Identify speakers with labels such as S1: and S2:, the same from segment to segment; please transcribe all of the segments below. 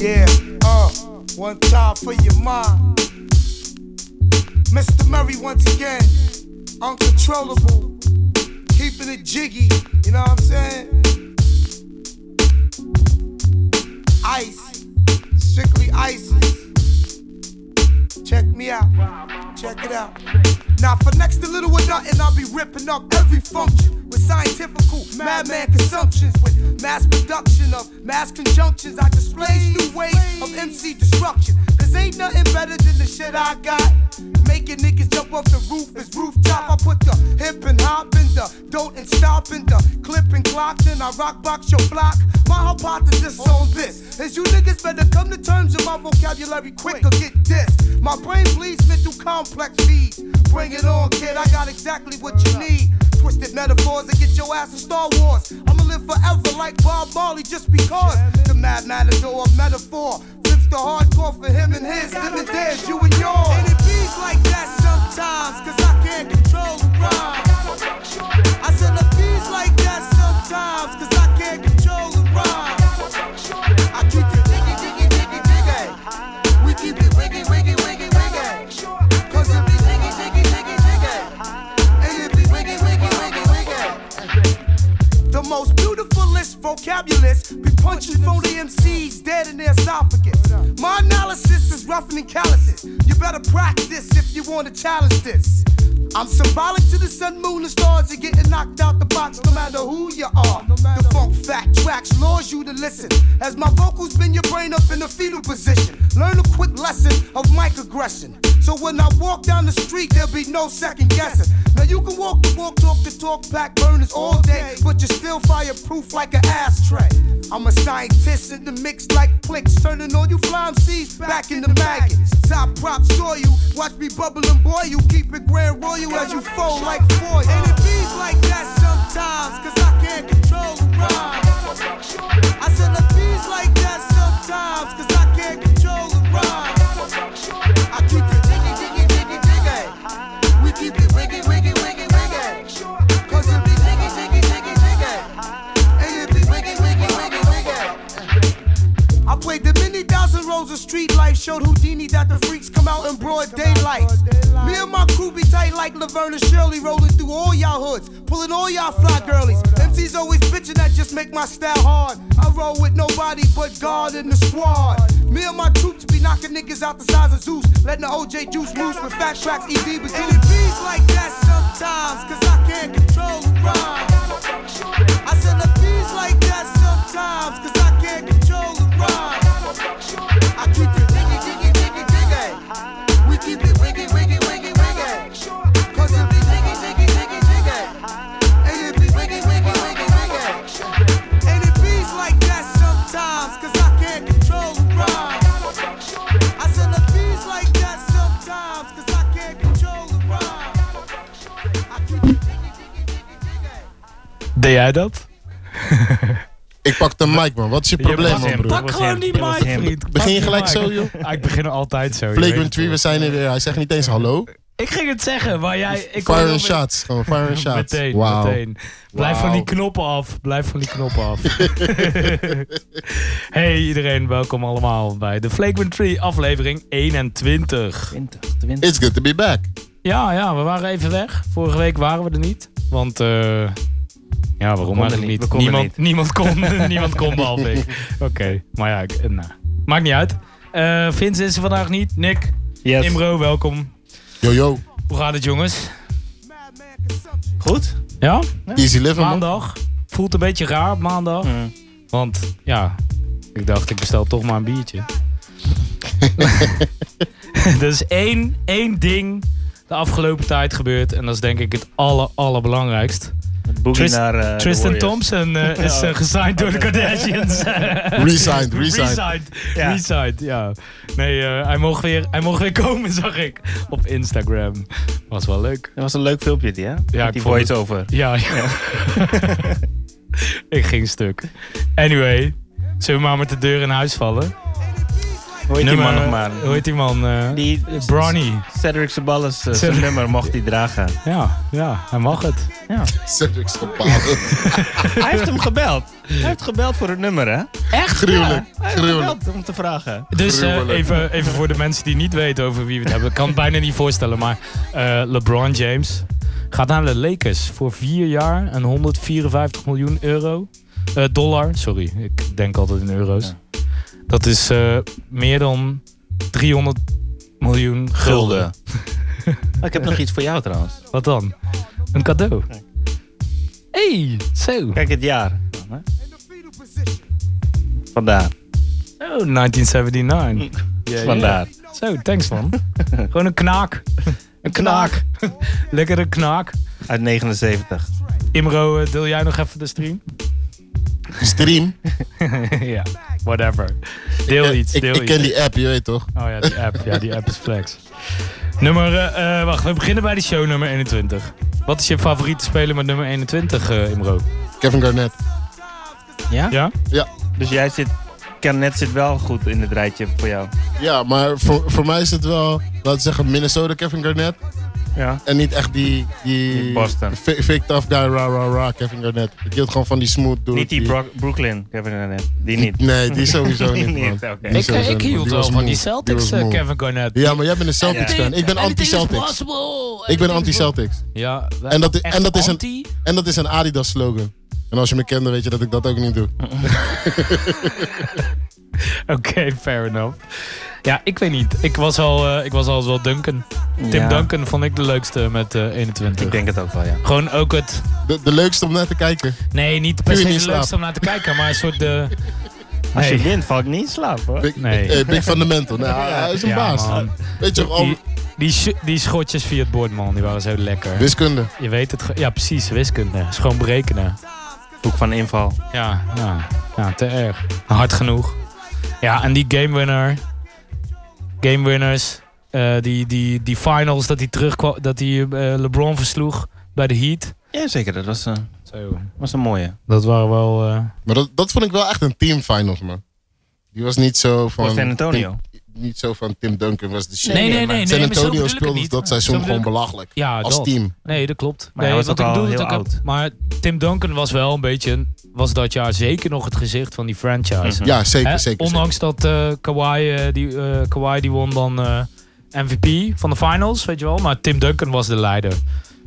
S1: Yeah, uh, one time for your mind. Mr. Murray once again, uncontrollable, keeping it jiggy, you know what I'm saying? Ice, strictly ISIS. Check me out, check it out. Now for next to little or nothing, I'll be ripping up every function with scientifical madman consumptions, with mass production of mass conjunctions. I display new ways of MC destruction. Cause ain't nothing better than the shit I got. Making niggas jump off the roof is rooftop. I put the hip and hop in the don't and stop in the clip and clock. Then I rock box your block. My hypothesis on this is you niggas better come to terms with my vocabulary quick or get this. My brain bleeds mental complex feeds. Bring it on, kid. I got exactly what you need. Twisted metaphors that get your ass in Star Wars. I'ma live forever like Bob Marley just because. The mad matador of metaphor. Flips the hardcore for him and his, them and theirs, you and yours. And it beats like that sometimes, cause I can't control the rhyme. I said it beats like that sometimes, cause I can't control the rhyme. I keep it diggy, diggy, diggy, diggy. We keep it wiggy, wiggy, wiggy, wiggy. Cause it be diggy, diggy, diggy, diggy. And it be wiggy, wiggy, wiggy, wiggy. The most beautifulest vocabulist be punching phony MCs dead in their esophagus. My analysis is roughening calluses. You better practice if you want to challenge this. I'm symbolic to the sun, moon, and stars. You're getting knocked out the box no matter who you are. The funk fact tracks lures you to listen. As my vocals bend your brain up in a fetal position. Learn a quick lesson of microaggression. So when I walk down the street, there'll be no second guessing. Now you can walk the walk, talk the talk, back burners all day, but you're still fireproof like an ashtray. I'm a scientist in the mix like clicks, turning all you flying seeds back into maggots. Top props saw you, watch me bubble and boil you, keep it grand royal as you fold like foil. And it beats like that sometimes, cause I can't control the rhyme. I said it beats like that sometimes, cause I can't control the rhyme. I keep it diggy, diggy, diggy, diggy. We keep it wiggy, wiggy, wiggy, wiggy. Cause it be diggy, diggy, diggy, diggy. And it be wiggy, wiggy, wiggy, wiggy. I played the many thousand rows of street life, showed Houdini that the freaks come out in broad daylight. Me and my crew be tight like Laverne and Shirley, rolling through all y'all hoods, pulling all y'all fly girlies. MC's always bitching that just make my style hard. I roll with nobody but God and the squad. Me and my troops be knocking niggas out the size of Zeus, letting the OJ juice loose with fat tracks, ED but And it beats like that sometimes, cause I can't control the rhyme. I said it beats like that sometimes, cause I can't control the rhyme. I keep it diggy, diggy, diggy, diggy. We keep it wiggy, wiggy, wiggy, wiggy. Cause it be diggy, diggy, diggy, diggy. And it be wiggy, wiggy, wiggy, wiggy. And it beats like that sometimes, cause I can't control the rhyme. I said it beats like that sometimes, cause I can't control the rhyme. I keep it diggy, diggy, diggy, diggy.
S2: Deed jij dat?
S3: Ik pak de mic, man. Wat is je probleem,
S2: was
S3: man,
S2: hem.
S3: broer?
S2: Dat
S4: Pak
S2: was
S4: gewoon
S2: hem,
S4: die
S2: dat was
S4: mic,
S2: hem.
S4: vriend.
S3: Begin je
S2: Pak
S3: gelijk
S2: die
S3: zo,
S2: mic.
S3: joh?
S2: Ah, ik begin altijd zo. je weet
S3: Flagrant
S2: het
S3: 3, we
S2: wel.
S3: zijn er weer. Hij zegt niet eens hallo.
S2: Ik ging het zeggen, maar jij... Ik hoorde
S3: Fire
S2: wel
S3: and
S2: met-
S3: shots. Gewoon fire and shots.
S2: Meteen,
S3: Wauw.
S2: meteen. Blijf van
S3: Wauw.
S2: die knoppen af. Blijf van die knoppen af. hey iedereen, welkom allemaal bij de Flagrant Tree aflevering 21.
S4: 20, 20.
S3: It's good to be back.
S2: Ja, ja, we waren even weg. Vorige week waren we er niet. Want, eh, ja, waarom
S4: niet,
S2: eigenlijk
S4: we
S2: niet?
S4: konden
S2: Niemand,
S4: niet.
S2: niemand kon, niemand kon behalve ik. Oké, maar ja, ik- eh, nou, maakt niet uit. Eh Vince is er vandaag niet. Nick,
S4: Yes.
S2: Imro, welkom.
S3: Yo, yo.
S2: Hoe gaat het jongens?
S1: Madman consumption.
S4: Goed?
S2: Ja,
S3: Easy living, man.
S2: maandag. Voelt een beetje raar op maandag.
S4: Mm.
S2: Want ja, ik dacht, ik bestel toch maar een biertje. er is één, één ding de afgelopen tijd gebeurd. En dat is denk ik het aller, allerbelangrijkst.
S4: Boogie
S2: Trist-
S4: naar eh, de
S2: Tristan
S4: Warriors.
S2: Thompson eh, is eh, gesigned door de Kardashians.
S3: Resigned, resigned.
S2: Resigned,
S4: Ja.
S2: resigned, ja. Nee, eh, hij, mocht weer, hij mocht weer komen, zag ik. Op Instagram. Was wel leuk.
S4: Dat was een leuk filmpje, die, hè? Ja,
S2: ik
S4: die
S2: vond het-
S4: voice-over.
S2: Ja, ja. ik ging stuk. Anyway, zullen we maar met de deur in huis vallen?
S4: Hoe heet die man nog maar?
S2: Hoe heet die man? eh,
S4: Die
S2: Bronny.
S4: Cedric Sabalas, eh, zijn
S2: Cedric-
S4: nummer mocht hij dragen.
S2: Ja, ja, hij mag het.
S3: Cedric Scopale.
S4: Hij heeft hem gebeld. Hij heeft gebeld voor het nummer, hè? Echt?
S3: Gruwelijk,
S4: Hij heeft
S3: gruwelijk.
S4: gebeld om te vragen.
S2: Dus eh,
S3: Gruwelijk.
S2: even, even voor de mensen die niet weten over wie we het hebben. Ik kan het bijna niet voorstellen, maar eh, LeBron James gaat naar de Lakers voor vier jaar en 154 miljoen euro. Eh, dollar, sorry. Ik denk altijd in euro's. Dat is eh, meer dan 300 miljoen gulden.
S4: Gulden. Oh, ik heb nog iets voor jou trouwens.
S2: Wat dan? Een cadeau. hey, zo.
S4: Kijk het jaar. Vandaar.
S2: Oh, 1979.
S4: Vandaar.
S2: Zo, thanks man. Gewoon een knaak. Een knaak. Lekkere knaak.
S4: Uit 79.
S2: Imro, eh, deel jij nog even de stream?
S3: Stream.
S2: ja, whatever. Deel iets,
S3: Ik,
S2: deel
S3: ik
S2: iets.
S3: ken die app, je weet toch?
S2: Oh ja, die app. Ja, die app is flex. Nummer, eh, eh, wacht, we beginnen bij de show nummer 21. Wat is je favoriete speler met nummer 21, eh, Imro?
S3: Kevin Garnett.
S2: Ja?
S4: Dus jij zit... Net zit wel goed in het rijtje voor jou.
S3: Ja, maar voor, voor mij is het wel, laten we zeggen, Minnesota Kevin Garnett.
S4: Ja.
S3: En niet echt die, die
S4: Die Boston.
S3: fi- fake tough guy, ra ra ra, Kevin Garnett. Ik hield gewoon van die smooth dude.
S4: Niet die Brock- Brooklyn, Kevin Garnett. Die niet.
S3: Nee, die sowieso niet,
S4: Niet,
S3: man.
S4: oké.
S3: Die
S2: eh, Ik,
S3: sowieso niet,
S2: hield
S3: man.
S2: wel
S3: was
S2: van die
S3: moe.
S2: Celtics, eh,
S3: was moe.
S2: Kevin Garnett.
S3: Ja, maar jij bent een Celtics fan. Ik ben anti-Celtics. Ik ben anti-Celtics.
S2: Ja,
S3: En dat i- en dat is een-
S2: anti?
S3: En dat is een Adidas slogan. En als je me kent, dan weet je dat ik dat ook niet doe.
S2: Oké, fair enough. Ja, ik weet niet. Ik was al, eh, ik was al wel Duncan. Tim
S4: Ja.
S2: Duncan vond ik de leukste met eh, 21.
S4: Ik denk het ook wel, ja.
S2: Gewoon ook het...
S3: De, de leukste om naar te kijken.
S2: Nee, niet
S3: Kun
S2: per
S3: je
S2: se de
S3: niet
S2: leukste
S3: slapen?
S2: om naar te kijken, maar een soort de...
S4: Als je
S2: Nee.
S4: wint, val ik niet in slaap, hoor.
S3: Big,
S2: Nee.
S3: eh, big fundamental. Nou, hij is een
S2: Ja,
S3: baas.
S2: man.
S3: Weet je, al
S2: Die, die, sh- die schotjes via het bord, man, die waren zo lekker.
S3: wiskunde.
S2: Je weet het... ge- Ja, precies, wiskunde. Is gewoon berekenen.
S4: Hoek van inval.
S2: Ja, ja, ja, te erg. Hard genoeg. Ja, en die game winner. Game winners. eh, die, die, die finals dat hij terugkwam. Dat hij eh, LeBron versloeg bij de Heat.
S4: Ja, zeker. Dat was, een
S2: Zo.
S4: was een mooie.
S2: Dat waren wel. eh,
S3: Maar dat, dat vond ik wel echt een team finals, man. Die was niet zo van...
S4: Voor San Antonio.
S3: Tim- niet zo van Tim Duncan was de shit.
S2: Nee, nee, nee. nee,
S3: San
S2: maar zo bedoel
S3: Antonio
S2: ik het
S3: speelde
S2: niet.
S3: dat
S2: Zo
S3: seizoen
S2: bedoel
S3: gewoon
S2: ik-
S3: belachelijk.
S2: Ja,
S3: Als
S2: dat.
S3: team.
S2: Nee, dat klopt.
S4: Maar hij
S2: Nee,
S4: was
S2: wat ik
S4: ook al
S2: bedoel is
S4: heel
S2: dat ik-
S4: oud.
S2: Maar Tim Duncan was wel een beetje. Was dat jaar zeker nog het gezicht van die franchise.
S4: Mhm.
S3: Ja, zeker,
S2: Hè,
S3: zeker.
S2: Ondanks dat eh, Kawhi, eh, die, eh, Kawhi die won dan eh, MVP van de finals, weet je wel. Maar Tim Duncan was de leider.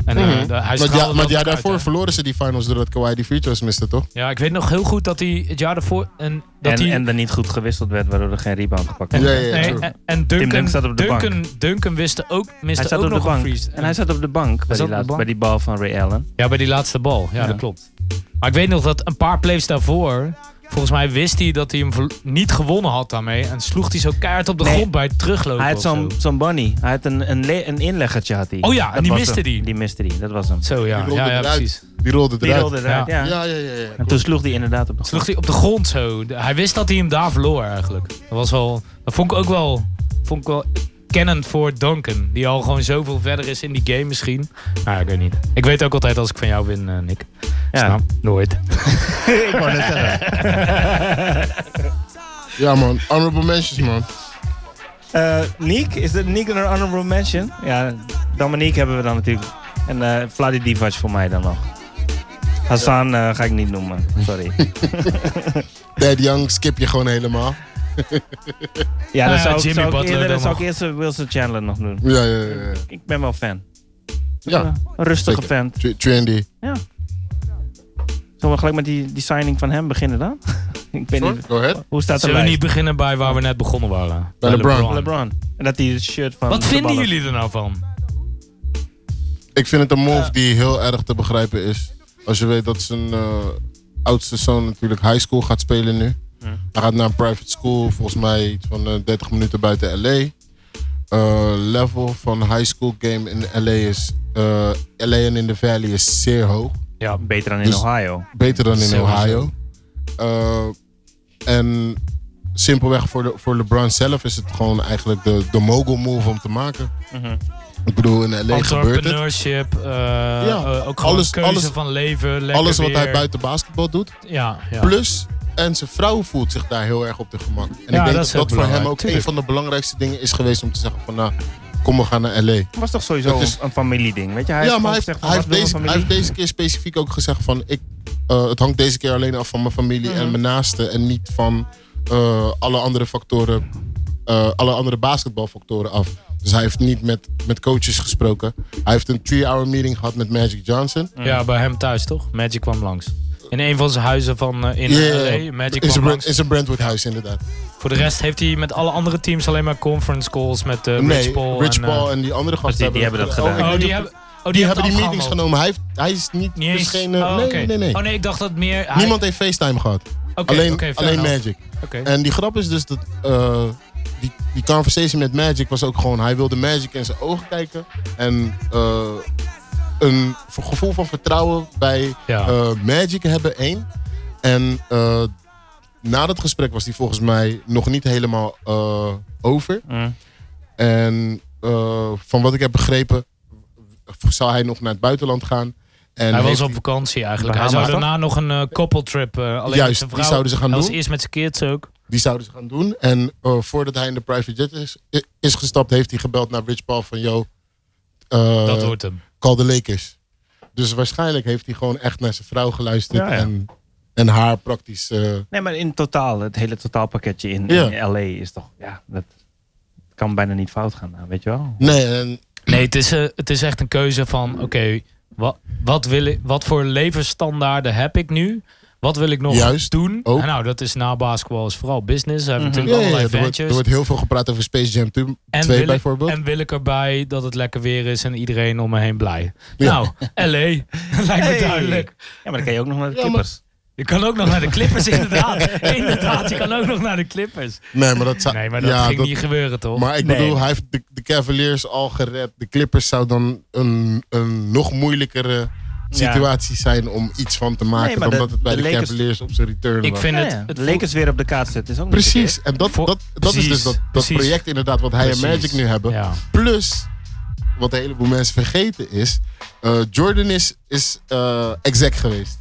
S2: En eh,
S3: Mhm.
S2: de- hij
S3: zeker. Maar, ja,
S2: straalde
S3: maar
S2: dat
S3: ja,
S2: ook uit,
S3: daarvoor
S2: hè.
S3: verloren ze die finals doordat Kawhi die free throws miste, toch?
S2: Ja, ik weet nog heel goed dat hij het jaar daarvoor... En, dat
S4: en,
S2: hij,
S4: en er niet goed gewisseld werd, waardoor er geen rebound gepakt werd.
S3: Ja, ja, ja.
S2: nee,
S3: true.
S2: en, en Duncan,
S4: Duncan zat op de
S2: Duncan, Duncan wist ook, miste
S4: Hij zat
S2: ook
S4: op de
S2: nog een
S4: bank.
S2: freeze.
S4: En hij zat op de bank,
S2: zat
S4: bij die,
S2: op de
S4: laatste-
S2: bank.
S4: bij die bal van Ray Allen.
S2: Ja, bij die laatste bal. Ja,
S4: Ja.
S2: dat klopt. Maar ik weet nog dat een paar plays daarvoor... Volgens mij wist hij dat hij hem verlo- niet gewonnen had daarmee. En sloeg hij zo keihard op de
S4: Nee,
S2: grond bij het teruglopen.
S4: Hij had
S2: of
S4: zo'n
S2: zo.
S4: zo'n bunny. Hij had een, een, le- een inleggertje. Had hij.
S2: Oh ja, en die
S4: was
S2: miste
S4: hem.
S2: die.
S4: Die miste die, dat was hem.
S2: Zo, ja.
S3: Die rolde
S2: Ja, ja,
S3: eruit.
S2: precies.
S3: Die rolde
S4: Die
S3: eruit.
S4: rolde eruit, ja.
S3: Ja, ja, ja. ja.
S4: En toen sloeg hij inderdaad op de
S2: Sloeg hij op de grond zo. De- Hij wist dat hij hem daar verloor eigenlijk. Dat was wel. Dat vond ik ook wel. Vond ik wel kennend voor Duncan. Die al gewoon zoveel verder is in die game misschien. Maar ik weet niet. Ik weet ook altijd als ik van jou win, eh, Nick.
S4: grond. Ja.
S2: Snap? Nooit.
S4: Ik wou net zeggen.
S3: Ja, man. Honorable mentions, man.
S4: Eh, Niek, is dat Niek een honorable mention? Ja, Dominique hebben we dan natuurlijk. En eh Vladi Divac voor mij dan nog. Hassan eh, ga ik niet noemen, sorry.
S3: Dead Young skip je gewoon helemaal.
S4: Ja, dan
S2: ja,
S4: zou, ik-
S2: Jimmy
S4: zou ik
S2: Butler
S4: eerder-
S2: dan
S4: Ah, dan zou
S2: nog.
S4: ik eerst eh, Wilson Chandler nog doen.
S3: Ja, ja, ja. ja.
S4: Ik ben wel fan.
S3: ja.
S4: Eh, een rustige
S3: Zeker.
S4: fan.
S3: Tr- Trendy.
S4: Zullen we gelijk met die, die signing van hem beginnen dan? ik weet
S3: Sorry?
S4: niet,
S3: Go ahead.
S4: hoe staat de
S2: Zullen we
S4: lijst?
S2: niet beginnen bij waar we net begonnen waren?
S3: Bij LeBron.
S4: LeBron. En dat hij het shirt van
S2: Wat
S4: de
S2: vinden
S4: ballen-
S2: jullie er nou van?
S3: Ik vind het een move die heel erg te begrijpen is. Als je weet dat zijn eh, oudste zoon natuurlijk high school gaat spelen nu.
S4: Ja.
S3: Hij gaat naar een private school, volgens mij iets van eh, 30 minuten buiten LA. Eh, level van high school game in LA is. eh, LA en in de Valley is zeer hoog.
S2: Ja,
S4: Beter dan in
S3: Dus-
S4: Ohio.
S3: Beter dan in
S2: Sowieso.
S3: Ohio. Eh, en simpelweg voor, de, voor LeBron zelf is het gewoon eigenlijk de, de mogul move om te maken. Ik bedoel, in LA gebeurt het.
S2: entrepreneurship. eh, eh, ook gewoon
S3: alles-
S2: keuze
S3: alles-
S2: van leven. lekker
S3: Alles wat
S2: weer.
S3: hij buiten basketbal doet.
S2: Ja, ja.
S3: Plus en zijn vrouw voelt zich daar heel erg op de gemak. En
S2: Ja,
S3: ik denk
S2: dat
S3: dat
S2: is heel
S3: dat, voor hem
S2: belangrijk,
S3: ook
S2: tuurlijk.
S3: een van de belangrijkste dingen is geweest om te zeggen van nou, kom we gaan naar L.A.
S4: was toch sowieso
S3: Dat is-
S4: een familieding, weet je? Hij
S3: ja, maar hij
S4: gewoon
S3: heeft,
S4: gezegd van,
S3: hij, heeft
S4: wat wil
S3: deze,
S4: mijn
S3: hij heeft deze keer specifiek ook gezegd van... Ik, eh, het hangt deze keer alleen af van mijn familie
S2: Mhm.
S3: en mijn naasten... en niet van eh, alle andere factoren, eh, alle andere basketbalfactoren af. Dus hij heeft niet met, met coaches gesproken. Hij heeft een three-hour meeting gehad met Magic Johnson.
S2: Ja, bij hem thuis toch? Magic kwam langs. In een van zijn huizen van, eh, in
S3: Yeah,
S2: LA. Magic kwam
S3: in zijn Brand-
S2: langs.
S3: in zijn Brentwood huis inderdaad.
S2: Voor de rest heeft hij met alle andere teams alleen maar conference calls met eh,
S3: nee,
S2: Rich Paul. en, eh,
S3: en, die andere gasten
S4: die hebben dat gedaan.
S2: oh, die hebben, oh, die,
S3: die hebben die
S2: afgehandeld.
S3: meetings genomen. Hij, heeft, hij is niet...
S2: Niet eens.
S3: dus geen, eh,
S2: oh,
S3: nee,
S2: oké.
S3: nee, nee.
S2: Oh nee, ik dacht dat meer. hij-
S3: Niemand heeft FaceTime gehad.
S2: Oké,
S3: alleen
S2: oké, fair
S3: alleen
S2: enough.
S3: Magic.
S2: Oké.
S3: En die grap is dus dat eh, die, die conversation met Magic was ook gewoon... Hij wilde Magic in zijn ogen kijken. En eh, een v- gevoel van vertrouwen bij
S2: Ja.
S3: eh, Magic hebben, één. En eh, na dat gesprek was hij volgens mij nog niet helemaal eh, over.
S4: Mm.
S3: En eh, van wat ik heb begrepen, w- zou hij nog naar het buitenland gaan. En
S2: hij
S3: heeft
S2: was op vakantie eigenlijk. Hij
S4: Bahamas
S2: zou
S4: toch?
S2: daarna nog een eh koppeltrip. eh, alleen met
S3: Juist,
S2: zijn
S3: die
S2: vrouw.
S3: zouden ze gaan
S2: Hij was
S3: doen.
S2: eerst met zijn kids ook.
S3: Die zouden ze gaan doen. En eh, voordat hij in de private jet is, i- is gestapt, heeft hij gebeld naar Rich Paul van... Yo, eh,
S2: dat hoort hem.
S3: call the Lakers. Dus waarschijnlijk heeft hij gewoon echt naar zijn vrouw geluisterd.
S4: Ja, ja.
S3: En, en haar praktisch... eh,
S4: Nee, maar in totaal, het hele totaalpakketje in,
S3: Ja.
S4: in LA is toch, ja, dat kan bijna niet fout gaan, nou, weet je wel.
S3: nee, en
S2: Nee, het is, eh, het is echt een keuze van: oké, wat, wat, wil ik- wat voor levensstandaarden heb ik nu? Wat wil ik nog
S3: Juist,
S2: doen?
S3: ook.
S2: En nou, dat is na basketbal is vooral business. Hij heeft
S3: ja,
S2: natuurlijk
S3: ja,
S2: allerlei
S3: er, wordt, er
S2: ventures.
S3: wordt heel veel gepraat over Space Jam 2
S2: En wil,
S3: bijvoorbeeld.
S2: Ik, en wil ik erbij dat het lekker weer is en iedereen om me heen blij.
S3: Ja.
S2: Nou, LA, lijkt me
S4: Hey.
S2: duidelijk.
S4: Ja, maar dan kan je ook nog naar de
S3: Ja, maar-
S4: Clippers.
S2: Je kan ook nog naar de Clippers, inderdaad. inderdaad, je kan ook nog naar de Clippers.
S3: nee, maar dat, zou,
S2: Nee, maar dat
S3: ja,
S2: ging
S3: dat-
S2: niet gebeuren, toch?
S3: Maar ik
S4: Nee.
S3: bedoel, hij heeft de, de Cavaliers al gered. De Clippers zou dan een, een nog moeilijkere situatie zijn om iets van te maken.
S4: Nee, maar
S3: dan
S4: de-
S3: dat het bij
S4: de
S3: de,
S4: Lakers-
S3: Cavaliers op zijn return
S2: ik
S3: was.
S2: vind
S4: Ja,
S2: het...
S4: ja.
S2: het
S4: De Lakers weer op de kaart zetten is ook niet verkeerd.
S3: Precies. En dat,
S2: Voor-
S3: dat, dat is
S2: precies,
S3: dus dat, dat
S2: precies.
S3: project inderdaad wat hij
S2: Precies.
S3: en Magic nu hebben.
S2: Ja.
S3: Plus, wat een heleboel mensen vergeten is... eh, Jordan is, is eh, exec geweest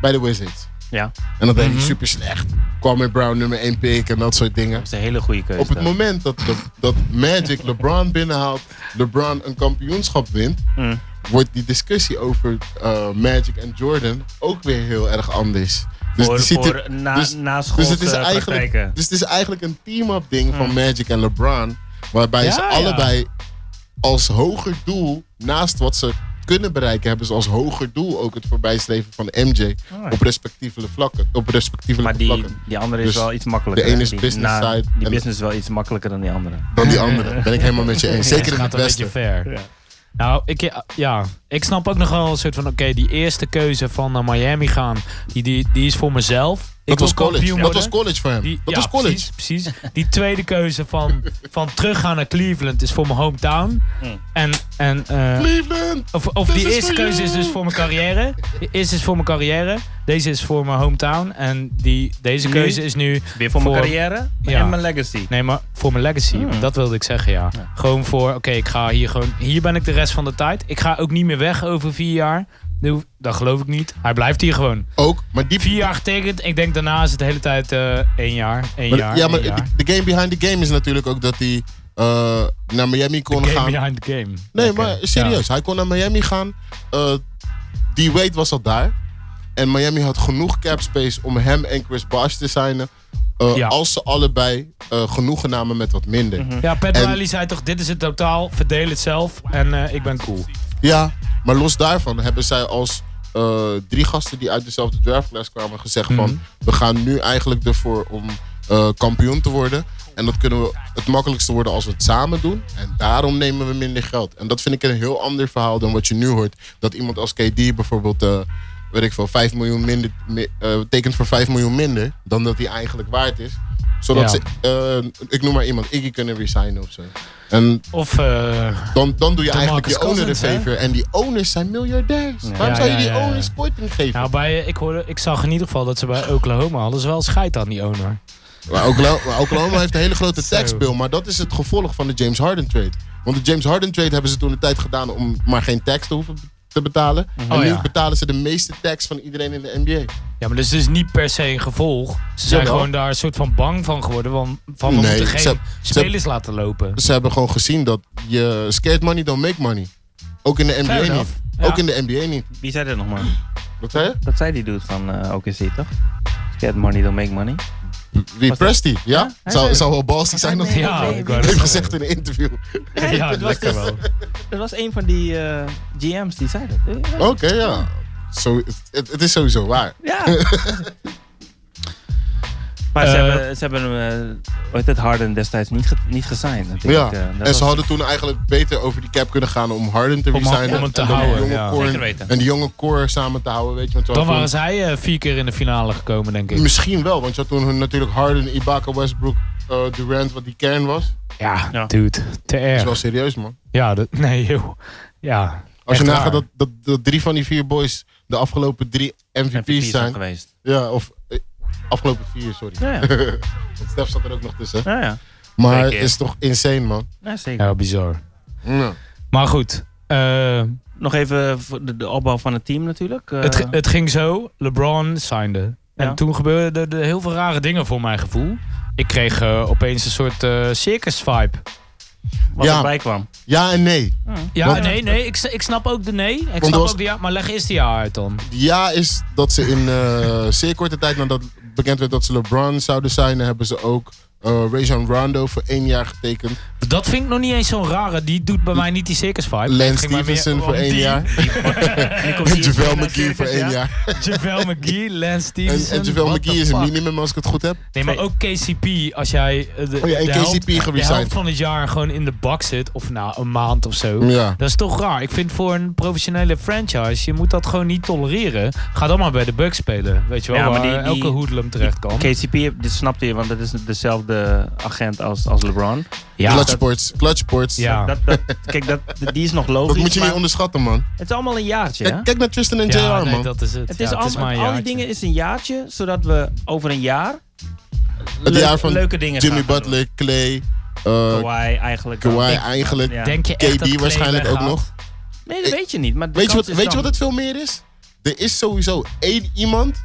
S3: bij de Wizards.
S4: Ja,
S3: En dat deed
S4: Mhm.
S3: hij super slecht. Kwam met Brown nummer 1 pick en dat soort dingen.
S4: dat is een hele goede keuze.
S3: Op het
S4: daar.
S3: moment dat, dat, dat Magic LeBron binnenhaalt, LeBron een kampioenschap wint,
S4: Mm.
S3: wordt die discussie over eh, Magic en Jordan ook weer heel erg anders. Dus,
S4: voor,
S3: die ziet
S4: voor
S3: er-
S4: na,
S3: dus,
S4: na school
S3: dus, het is
S4: eh,
S3: eigenlijk,
S4: praktijken.
S3: dus het is eigenlijk een team-up ding van Magic en LeBron, waarbij ze
S2: Hmm. Ja, ja.
S3: allebei als hoger doel, naast wat ze kunnen bereiken, hebben ze als hoger doel ook het voorbijstreven van MJ
S4: ja.
S3: op respectievele vlakken. Op respectievelijke
S4: Maar die,
S3: vlakken.
S4: die andere is
S3: Dus
S4: wel iets makkelijker.
S3: de ene
S4: hè?
S3: is
S4: die,
S3: business side
S4: Die
S3: en-
S4: business is wel iets makkelijker dan die andere.
S3: Dan die andere. Ben ik helemaal met je eens. Zeker
S2: het
S3: in
S2: gaat
S3: het
S2: een beetje
S3: Westen.
S2: ver.
S4: Ja.
S2: Nou, ik, ja, ik snap ook nog wel een soort van... Oké, die eerste keuze van naar Miami gaan, die, die, die is voor mezelf.
S3: Dat
S2: ik wil
S3: was college.
S2: kampioen
S3: Dat was
S2: worden.
S3: college voor hem.
S2: Die,
S3: dat
S2: ja,
S3: was college.
S2: Precies, precies. Die tweede keuze van, van teruggaan naar Cleveland is voor mijn hometown.
S4: Mm.
S2: En, en, eh,
S3: Hmm. Cleveland!
S2: of, of
S3: This
S2: die
S3: is
S2: eerste
S3: for
S2: keuze is
S3: you.
S2: dus voor mijn carrière. De eerste is voor mijn carrière. Deze is voor mijn hometown. En die, deze
S4: Nu?
S2: keuze is nu...
S4: Weer voor, mijn carrière
S2: Ja.
S4: en mijn legacy.
S2: Nee, maar voor mijn legacy.
S3: Hmm.
S4: Mm.
S2: Dat wilde ik zeggen, ja. Gewoon voor, oké, ik ga hier gewoon... Hier ben ik de rest van de tijd. Ik ga ook niet meer weg over vier jaar. Dat- Dat geloof ik niet. Hij blijft hier gewoon.
S3: Ook, maar die...
S2: Vier jaar getekend. Ik denk daarna is het de hele tijd eh, één jaar. Één
S3: maar-
S2: jaar,
S3: ja,
S2: één
S3: maar
S2: jaar.
S3: de game behind the game is natuurlijk ook dat hij eh, naar Miami kon
S2: The
S3: gaan.
S2: game behind the game.
S3: Nee,
S2: Oké.
S3: maar serieus. Hij kon naar Miami gaan. Eh die Wade was al daar. En Miami had genoeg cap space om hem en Chris Bosh te signen. eh,
S2: Ja.
S3: Als ze allebei eh, genoegen namen met wat minder.
S2: Ja, ja Pat
S3: En-
S2: Riley zei toch, dit is het totaal, verdeel het zelf en eh, ik ben cool.
S3: Ja, maar los daarvan hebben zij als eh, drie gasten die uit dezelfde draftclass kwamen gezegd
S2: Mhm.
S3: van... we gaan nu eigenlijk ervoor om eh, kampioen te worden. En dat kunnen we het makkelijkste worden als we het samen doen. En daarom nemen we minder geld. En dat vind ik een heel ander verhaal dan wat je nu hoort. Dat iemand als KD bijvoorbeeld... eh weet ik veel, 5 miljoen minder, mi- eh, tekent voor 5 miljoen minder dan dat hij eigenlijk waard is. Zodat
S2: Ja.
S3: ze, eh, ik noem maar iemand, Iggy kunnen resignen of zo. En
S2: Of, eh,
S3: dan, dan doe je
S2: Demarcus
S3: eigenlijk je owner een
S2: Cousins, hè?
S3: favor. En die owners zijn miljardairs.
S2: Ja,
S3: Waarom zou je
S2: ja,
S3: die
S2: ja, ja.
S3: owners korting geven?
S2: nou bij, eh, ik, hoorde, ik zag in ieder geval dat ze bij Oklahoma hadden ze wel scheid aan die owner.
S3: Maar Oklahoma, maar Oklahoma heeft een hele grote
S2: Zo.
S3: taxbill. Maar dat is het gevolg van de James Harden trade. Want de James Harden trade hebben ze toen de tijd gedaan om maar geen tax te hoeven te betalen. en
S2: Oh,
S3: nu
S2: ja.
S3: betalen ze de meeste tax van iedereen in de NBA.
S2: Ja, maar dus het is niet per se een gevolg. Ze zijn
S3: Jawel.
S2: gewoon daar een soort van bang van geworden. Van, van we
S3: Nee,
S2: moeten geen
S3: ze- ze-
S2: spelers laten lopen.
S3: Dus Ze hebben gewoon gezien dat je skate money don't make money. Ook in de NBA
S2: Fair
S3: niet.
S2: enough. Ja.
S3: Ook in de NBA niet.
S4: Wie zei dat nog maar?
S3: Wat zei je?
S4: Dat zei die dude van eh OKC, toch? Get money, don't make money.
S3: Wie
S4: Was dat-
S3: Presti? Ja?
S4: hij zei
S3: zou,
S4: het.
S3: zou wel balsy zijn dat
S2: nee,
S3: hij
S2: Ja, nee, ik wou
S3: heeft
S2: dat
S3: gezegd in een interview.
S2: ja,
S4: dat was
S2: lekker
S4: dus-
S2: wel.
S4: Dat was een van die eh, GM's die zei dat.
S3: Oké, ja. Zo, het, het is sowieso waar.
S4: Ja. maar ze,
S2: Eh,
S4: hebben, ze hebben hem, eh, hoe heet het, Harden destijds niet, ge, niet gesigned
S3: Ja.
S4: natuurlijk. Eh, dat
S3: en ze
S4: was-
S3: hadden toen eigenlijk beter over die cap kunnen gaan om Harden te
S2: Om-
S3: resignen.
S2: om hem te
S3: en dan die
S2: houden,
S3: jonge
S2: ja.
S3: core-
S4: Zeker weten.
S3: en die jonge core samen te houden, weet je. Want ze
S2: Dan
S3: hadden
S2: waren zij eh, vier keer in de finale gekomen, denk
S3: toen-
S2: ik.
S3: Misschien wel, want je had toen hun natuurlijk Harden, Ibaka, Westbrook, eh, Durant, wat die kern was. Dat
S2: Ja,
S4: Ja.
S2: dude. Te
S3: is wel
S2: erg.
S3: serieus, man.
S2: Ja, dat, nee, joh. Ja.
S3: Als je
S2: echt
S3: nagaat
S2: waar.
S3: dat, dat, dat drie van die vier boys de afgelopen drie MVP's,
S4: MVP's
S3: zijn.
S4: geweest.
S3: Ja, of eh, afgelopen vier, sorry.
S4: Ja, ja.
S3: Want Stef zat er ook nog tussen.
S4: Ja, ja.
S3: Maar het
S4: Zeker.
S3: is toch insane, man.
S4: ja zeker.
S2: Ja, nou, bizar.
S3: Ja.
S2: Maar goed. eh,
S4: Nog even voor de, de opbouw van het team natuurlijk. Eh,
S2: het, het ging zo. LeBron signde. En
S4: Ja.
S2: toen gebeurden er, heel veel rare dingen voor mijn gevoel. Ik kreeg eh, opeens een soort eh, circus vibe.
S4: wat
S3: eh, ja.
S4: erbij kwam.
S3: ja en nee.
S2: Ja,
S3: Want-
S2: nee, nee. Ik, s- ik snap ook de nee. Ik
S3: er
S2: snap
S3: was-
S2: ook de ja. Maar leg eerst de ja uit dan.
S3: Ja is dat ze in eh, zeer korte tijd nadat bekend werd dat ze LeBron zouden zijn, hebben ze ook eh Rajon Rondo voor één jaar getekend.
S2: Dat vind ik nog niet eens zo'n rare. Die doet bij mij niet die circus vibe.
S3: Lance
S2: Het ging mij meer
S3: Stevenson voor
S2: om
S3: één
S2: die-
S3: jaar. En JaVale McGee voor één jaar.
S2: JaVale McGee, Lance
S3: En,
S2: Stevenson.
S3: en JaVale
S2: what
S3: McGee
S2: the
S3: is een
S2: fuck?
S3: minimum als ik het goed heb.
S2: Nee, maar ook KCP. Als jij eh, de,
S3: Oh ja, en
S2: de helft,
S3: KCP
S2: de helft
S3: geresigned.
S2: van het jaar gewoon in de bak zit. Of nou, een maand of zo.
S3: Ja.
S2: Dat is toch raar. Ik vind voor een professionele franchise, je moet dat gewoon niet tolereren. Ga dan maar bij de Bucks spelen. Weet je wel,
S4: Ja, maar
S2: waar
S4: die- die-
S2: elke hoedlum terecht kan.
S4: KCP, dit snapte je, want dat is dezelfde agent als, als LeBron.
S2: Ja,
S3: Clutch
S2: dat-
S3: sports, clutch sports.
S2: Ja.
S4: Dat, dat, kijk, dat, die is nog
S3: Dat
S4: logisch.
S3: Ah. moet je niet
S4: maar
S3: onderschatten, man.
S4: het is allemaal een jaartje. hè?
S3: Kijk, kijk naar Tristan en
S2: ja,
S3: JR,
S2: nee,
S3: man.
S2: dat is het.
S4: Het
S2: Ja,
S4: is
S2: maar
S4: allemaal-
S2: een
S4: al die
S2: jaartje.
S4: dingen is een jaartje, zodat we over een jaar
S3: het
S4: leuk-
S3: jaar van
S4: leuke dingen
S3: Jimmy
S4: gaan doen.
S3: Butler, Clay, eh
S4: Kawhi eigenlijk. dan.
S3: Kawhi
S4: Ik-
S3: eigenlijk.
S4: Ja.
S2: Denk je echt dat
S3: KD
S2: Clay
S3: waarschijnlijk ook
S2: weggaat?
S3: nog.
S4: Nee, dat weet je niet. Maar de
S3: Weet je, wat,
S4: kans is
S3: weet je
S4: dan-
S3: wat het veel meer is? Er is sowieso één iemand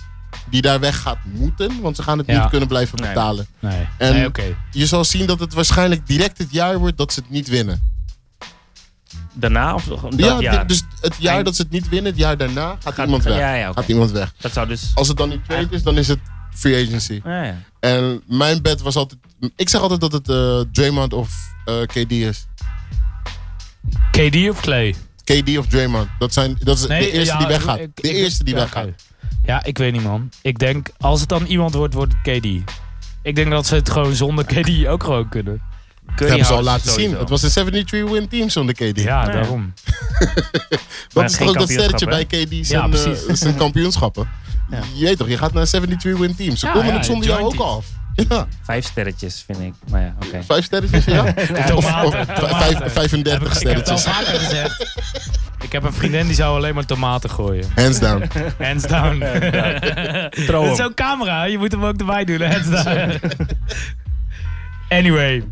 S3: die daar weg gaat moeten, want ze gaan het
S2: Ja.
S3: niet kunnen blijven
S4: Nee.
S3: betalen.
S2: Nee,
S3: En-
S2: nee oké.
S3: Je zal zien dat het waarschijnlijk direct het jaar wordt dat ze het niet winnen.
S4: Daarna of gewoon dat
S3: Ja, di-
S4: jaar?
S3: dus het jaar
S4: Eind-
S3: dat ze het niet winnen, het jaar daarna gaat, iemand weg.
S4: Ja, ja, oké.
S3: Gaat iemand weg.
S4: Dat zou dus...
S3: Als het dan niet trade is, dan is het free agency.
S4: Ja, ja.
S3: En mijn bed was altijd. Ik zeg altijd dat het eh, Draymond of eh, KD is.
S2: KD of Clay?
S3: KD of Draymond. Dat, zijn, dat is de eerste
S2: ja,
S3: die weggaat.
S2: ik-
S3: de
S2: ik-
S3: eerste die
S2: ja,
S3: weggaat.
S2: oké. Ja, ik weet niet, man. Ik denk, als het dan iemand wordt, wordt het KD. Ik denk dat ze het gewoon zonder KD ook gewoon kunnen.
S4: Curry
S3: Dat hebben ze al
S4: houdt
S3: laten
S4: sowieso.
S3: zien. Het was een 73-win team zonder KD.
S2: Ja,
S4: Ja.
S2: daarom.
S3: Dat
S4: Maar
S3: is
S4: geen
S3: toch ook dat
S4: kampioenschap,
S3: sterretje bij
S4: hè?
S3: KD zijn, eh,
S2: precies.
S3: zijn kampioenschappen.
S4: Ja.
S3: Je weet toch, je gaat naar 73 win team. Ze
S2: Ja,
S3: komen
S2: ja,
S3: het zonder
S2: de
S3: jou ook
S2: joint
S3: af. Ja,
S4: Vijf sterretjes, vind ik. Maar ja, oké.
S3: vijf sterretjes, ja.
S2: Tomaten,
S3: Of, of
S2: tomaten.
S3: vijf-
S2: Heb
S3: 35
S2: ik, ik heb het al
S3: sterretjes.
S2: vaker gezegd. Ik heb een vriendin die zou alleen maar tomaten gooien.
S3: Hands down.
S2: Hands down.
S4: Trouw
S2: Dat is
S4: hem.
S2: zo'n camera, je moet hem ook erbij doen. Hands down. anyway.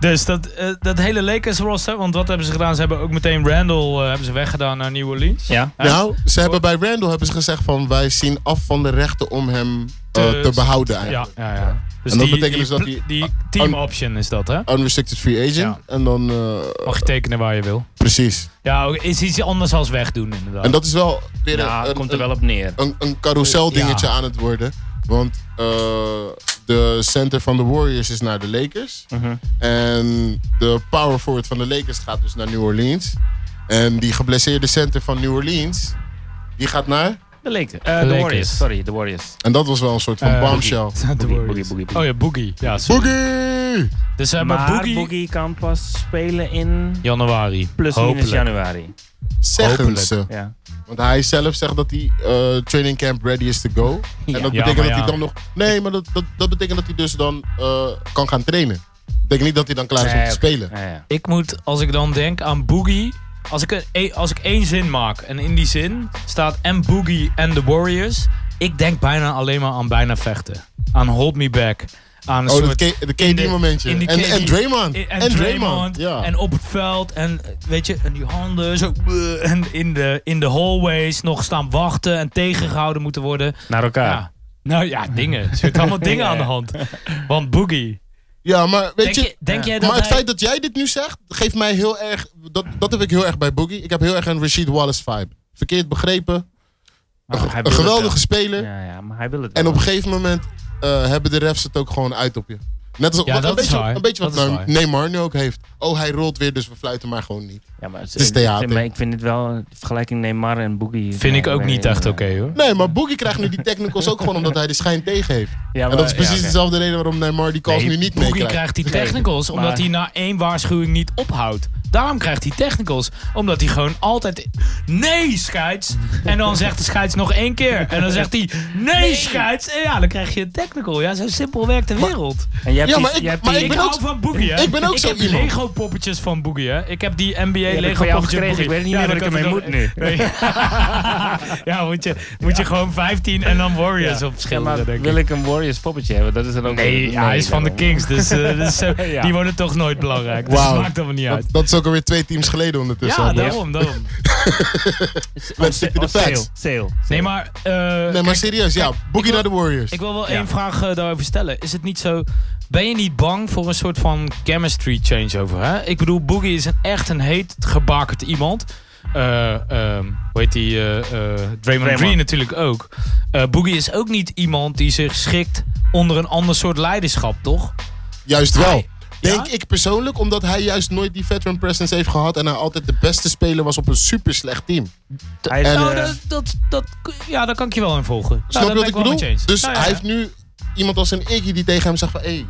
S2: Dus dat, eh, dat hele Lakers roster, want wat hebben ze gedaan? Ze hebben ook meteen Randall eh, hebben ze weggedaan naar New Orleans.
S4: Ja.
S2: Hè?
S3: Nou, ze hebben bij Randall hebben ze gezegd van wij zien af van de rechten om hem eh,
S2: Te-
S3: te behouden
S2: Ja,
S3: eigenlijk.
S2: ja, ja. Dus
S3: En dat
S2: die,
S3: betekent dus
S2: die,
S3: dat
S2: pl-
S3: die- oh.
S2: die team option is dat, hè?
S3: Unrestricted free agent. En dan, eh,
S2: Mag je tekenen waar je wil.
S3: precies.
S2: Ja, ook is iets anders als wegdoen inderdaad.
S3: En dat is wel weer
S4: Ja,
S3: een, een-
S4: komt er wel op neer.
S3: een, een carousel dingetje
S2: Ja.
S3: aan het worden. Want eh, de center van de Warriors is naar de Lakers.
S4: Mhm.
S3: En de power forward van de Lakers gaat dus naar New Orleans. En die geblesseerde center van New Orleans, die gaat naar...
S4: De Lakers. Eh, de
S2: Lakers.
S4: Warriors. Sorry, de Warriors.
S3: En dat was wel een soort van
S2: Eh,
S3: bombshell.
S2: Boogie. De
S4: Boogie,
S2: Warriors.
S4: Boogie, Boogie, Boogie.
S2: Oh ja, Boogie. Ja, sorry.
S3: Boogie!
S2: Dus ze hebben
S4: maar Boogie...
S2: Boogie,
S4: kan pas spelen in
S2: januari.
S4: plus
S2: Hopelijk.
S4: minus januari.
S3: Zeggen
S2: Hopelijk.
S3: ze.
S4: Ja.
S3: Want hij zelf zegt dat hij eh, training camp ready is to go.
S4: Ja.
S3: En dat
S2: Ja,
S3: betekent
S2: maar
S3: dat hij
S2: ja.
S3: dan nog... Nee, maar dat, dat, dat betekent dat hij dus dan eh, kan gaan trainen. Dat betekent niet dat hij dan klaar is om
S4: Nee,
S3: te
S4: oké.
S3: spelen.
S4: Ja, ja.
S2: Ik moet, als ik dan denk aan Boogie. Als ik, een, als ik één zin maak en in die zin staat en Boogie en de Warriors. Ik denk bijna alleen maar aan bijna vechten. Aan Hold Me Back. Aan een
S3: Oh, dat
S2: soort
S3: K- de
S2: in de-
S3: KD-momentje.
S2: in die
S3: En, en
S2: KD
S3: Draymond.
S2: I-
S3: En Draymond. Ja.
S2: En op het veld. En eh, weet je, en die handen zo. eh, En in de, in de hallways nog staan wachten en tegengehouden moeten worden.
S4: Naar elkaar.
S2: Ja. Nou ja, dingen. Er zitten allemaal dingen aan de hand. Want Boogie.
S3: Ja, maar weet
S2: Denk, je, denk jij dat
S3: maar het
S2: hij-
S3: feit dat jij dit nu zegt, geeft mij heel erg. Dat, dat heb ik heel erg bij Boogie. Ik heb heel erg een Rashid Wallace vibe. Verkeerd begrepen.
S4: Maar hij wil
S3: Een
S4: het
S3: geweldige speler.
S4: wel. Ja, ja, maar hij wil het
S3: En
S4: wel.
S3: op een gegeven moment eh, hebben de refs het ook gewoon uit op je. Net als
S2: Ja,
S3: wat-
S2: dat
S3: een,
S2: is
S3: beetje,
S2: waar.
S3: een beetje wat
S2: Dat is
S3: nou
S2: waar.
S3: Neymar nu ook heeft. Oh, hij rolt weer, dus we fluiten maar gewoon niet.
S4: Ja, maar het,
S3: is theater.
S4: Maar ik vind het wel, de vergelijking Neymar en Boogie.
S2: Vind ik
S4: Ja,
S2: ook
S4: weet
S2: niet echt
S4: ja.
S2: oké hoor.
S3: Nee, maar Boogie krijgt nu die technicals ook gewoon omdat hij de schijn tegen heeft.
S4: Ja,
S3: en dat is
S4: ja,
S3: precies
S4: oké.
S3: dezelfde reden waarom Neymar die calls nu niet
S2: Boogie
S3: meekrijgt.
S2: krijgt die technicals
S4: Nee,
S2: omdat
S4: maar-
S2: hij na één waarschuwing niet ophoudt. Daarom krijgt hij technicals. Omdat hij gewoon altijd... Nee, scheids! En dan zegt de scheids nog één keer. En dan zegt hij... Nee, scheids! En ja, dan krijg je een technical. Ja, zo simpel werkt de wereld.
S4: En jij hebt
S3: Ja,
S4: die-
S3: maar ik-
S4: jij hebt
S3: maar
S4: die-
S2: ik
S3: ben
S2: hou
S3: ook-
S2: van Boogie, hè?
S3: ik ben ook zo
S2: heb
S3: iemand.
S2: Lego poppetjes van Boogie, hè? Ik heb die NBA
S4: heb ik
S2: Lego
S4: van jou
S2: poppetjes
S4: gekregen.
S2: Boogie.
S4: Ik weet niet
S2: Ja,
S4: meer wat
S2: dan
S4: ik
S2: kan
S4: ermee
S2: het
S4: moet nu.
S2: Nee. ja, moet je, moet je gewoon 15 en dan Warriors
S4: Ja.
S2: op
S4: Ja,
S2: schilderen,
S4: maar
S2: denk ik.
S4: wil ik een Warriors poppetje hebben? Dat is dan ook
S2: Nee, ja, hij is van de
S4: daarom.
S2: Kings, dus, eh, dus zo-
S4: Ja.
S2: die worden toch nooit belangrijk. Dus
S3: Wauw.
S2: dat maakt allemaal niet uit.
S3: Dat, dat is ook alweer twee teams geleden ondertussen.
S2: ja,
S3: hè, boys.
S2: daarom, daarom.
S3: Let's stick to the
S4: Oh, sale,
S3: facts.
S4: sale.
S2: Nee, maar, eh,
S3: Nee, maar
S2: kijk,
S3: serieus, ja. Boogie
S2: wil-
S3: naar de Warriors.
S2: ik wil wel
S4: Ja.
S2: één vraag eh, daarover stellen. Is het niet zo... Ben je niet bang voor een soort van chemistry changeover? Hè? Ik bedoel, Boogie is een, echt een heet gebakerd iemand. Eh, ehm, hoe heet die? eh, eh, Draymond, Green natuurlijk ook. Eh, Boogie is ook niet iemand die zich schikt onder een ander soort leiderschap, toch?
S3: Juist wel.
S2: Hij-
S3: Denk
S2: Ja?
S3: ik persoonlijk, omdat hij juist nooit die veteran presence heeft gehad. En hij altijd de beste speler was op een super slecht team.
S4: Hij is,
S3: En,
S2: nou,
S4: eh,
S2: dat, dat, dat, ja, daar kan ik je wel in volgen. Nou,
S3: Snap
S2: daar ben
S3: je wat ik
S2: wel
S3: bedoel?
S2: met je eens.
S3: Dus
S2: Nou ja,
S3: hij
S2: ja.
S3: heeft nu iemand als een Iggy die tegen hem zegt van... Hé, hey,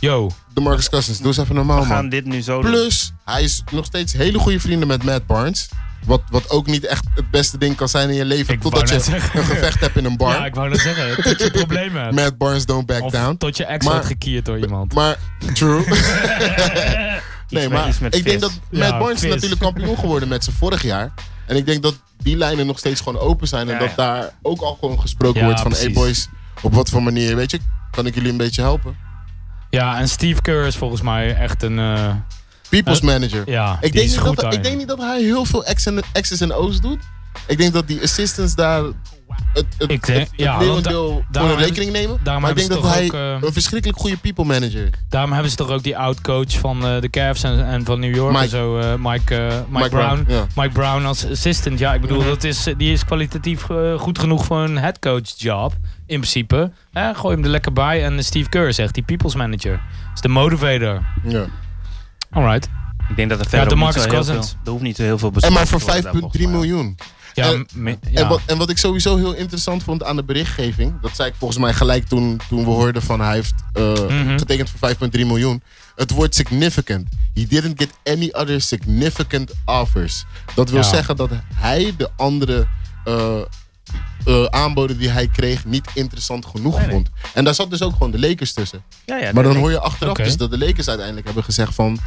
S2: Yo,
S3: de Marcus Cousins, doe eens even normaal
S4: we gaan
S3: man.
S4: dit nu zo doen.
S3: Plus, hij is nog steeds hele goede vrienden met Matt Barnes. Wat, wat ook niet echt het beste ding kan zijn in je leven.
S2: Ik
S3: totdat
S2: wou
S3: je
S2: net zeggen.
S3: een gevecht hebt in een bar.
S2: ja, ik wou dat zeggen. Tot je problemen hebt.
S3: Matt Barnes, don't back
S2: Of
S3: down.
S2: tot je ex
S3: Maar-
S2: wordt gekierd door iemand.
S3: Maar, true. Nee,
S4: met-
S3: maar
S4: iets met
S3: ik denk
S4: vis.
S3: dat Matt
S2: Ja,
S3: Barnes is
S2: vis.
S3: natuurlijk kampioen geworden met zijn vorig jaar. En ik denk dat die lijnen nog steeds gewoon open zijn. En
S4: Ja,
S3: dat
S4: ja.
S3: daar ook al gewoon gesproken
S2: Ja,
S3: wordt van... Hey
S2: precies.
S3: boys, op wat voor manier, weet je, kan ik jullie een beetje helpen?
S2: Ja, en Steve Kerr is volgens mij echt een... eh,
S3: People's
S2: Eh,
S3: manager.
S2: ja,
S3: ik,
S2: die
S3: denk
S2: is
S3: niet
S2: goed
S3: dat, hij-
S2: daarin.
S3: ik denk niet dat hij heel veel X's en, X's en O's doet. Ik denk dat die assistants daar het, het,
S2: Ik denk-
S3: het- het
S2: ja, want da-
S3: leeuwendeel voor de
S2: daarom
S3: rekening nemen.
S2: daarom
S3: Maar ik denk
S2: hebben
S3: dat
S2: ze
S3: hij
S2: toch ook, eh,
S3: een verschrikkelijk goede people manager is.
S2: Daarom hebben ze toch ook die oud-coach van eh, de Cavs en, en van New York
S3: Mike.
S2: en zo, eh, Mike, eh, Mike, Brown.
S3: ja.
S2: Mike Brown als assistant. Ja, ik bedoel,
S4: Mhm.
S2: dat is, die is kwalitatief eh, goed genoeg voor een headcoach job. In principe. Eh, gooi hem er lekker bij. En Steve Kerr zegt, die people's manager. Is de motivator.
S3: Ja.
S2: Alright.
S4: Ik denk dat er verder
S2: de
S4: ook
S2: Marcus
S4: niet zo heel
S2: Cousins.
S4: veel- Er hoeft niet zo heel veel
S3: En
S4: besproken
S3: maar voor
S4: te worden daar,
S3: 5,3
S4: volgens mij.
S3: miljoen.
S2: Ja,
S3: En-
S2: me-
S3: Eh, En,
S2: ja.
S3: wat, en wat ik sowieso heel interessant vond aan de berichtgeving, dat zei ik volgens mij gelijk toen, toen we hoorden van hij heeft eh,
S2: Mhm.
S3: getekend voor 5,3 miljoen. Het woord significant. He didn't get any other significant offers. Dat wil
S2: Ja.
S3: zeggen dat hij de andere eh, eh, aanboden die hij kreeg niet interessant genoeg
S4: Nee, nee.
S3: vond. En daar zat dus ook gewoon de Lakers tussen.
S4: Ja, ja,
S3: maar
S4: dat
S3: dan
S4: denk
S3: hoor je achteraf
S2: Oké.
S3: dus dat de Lakers uiteindelijk hebben gezegd van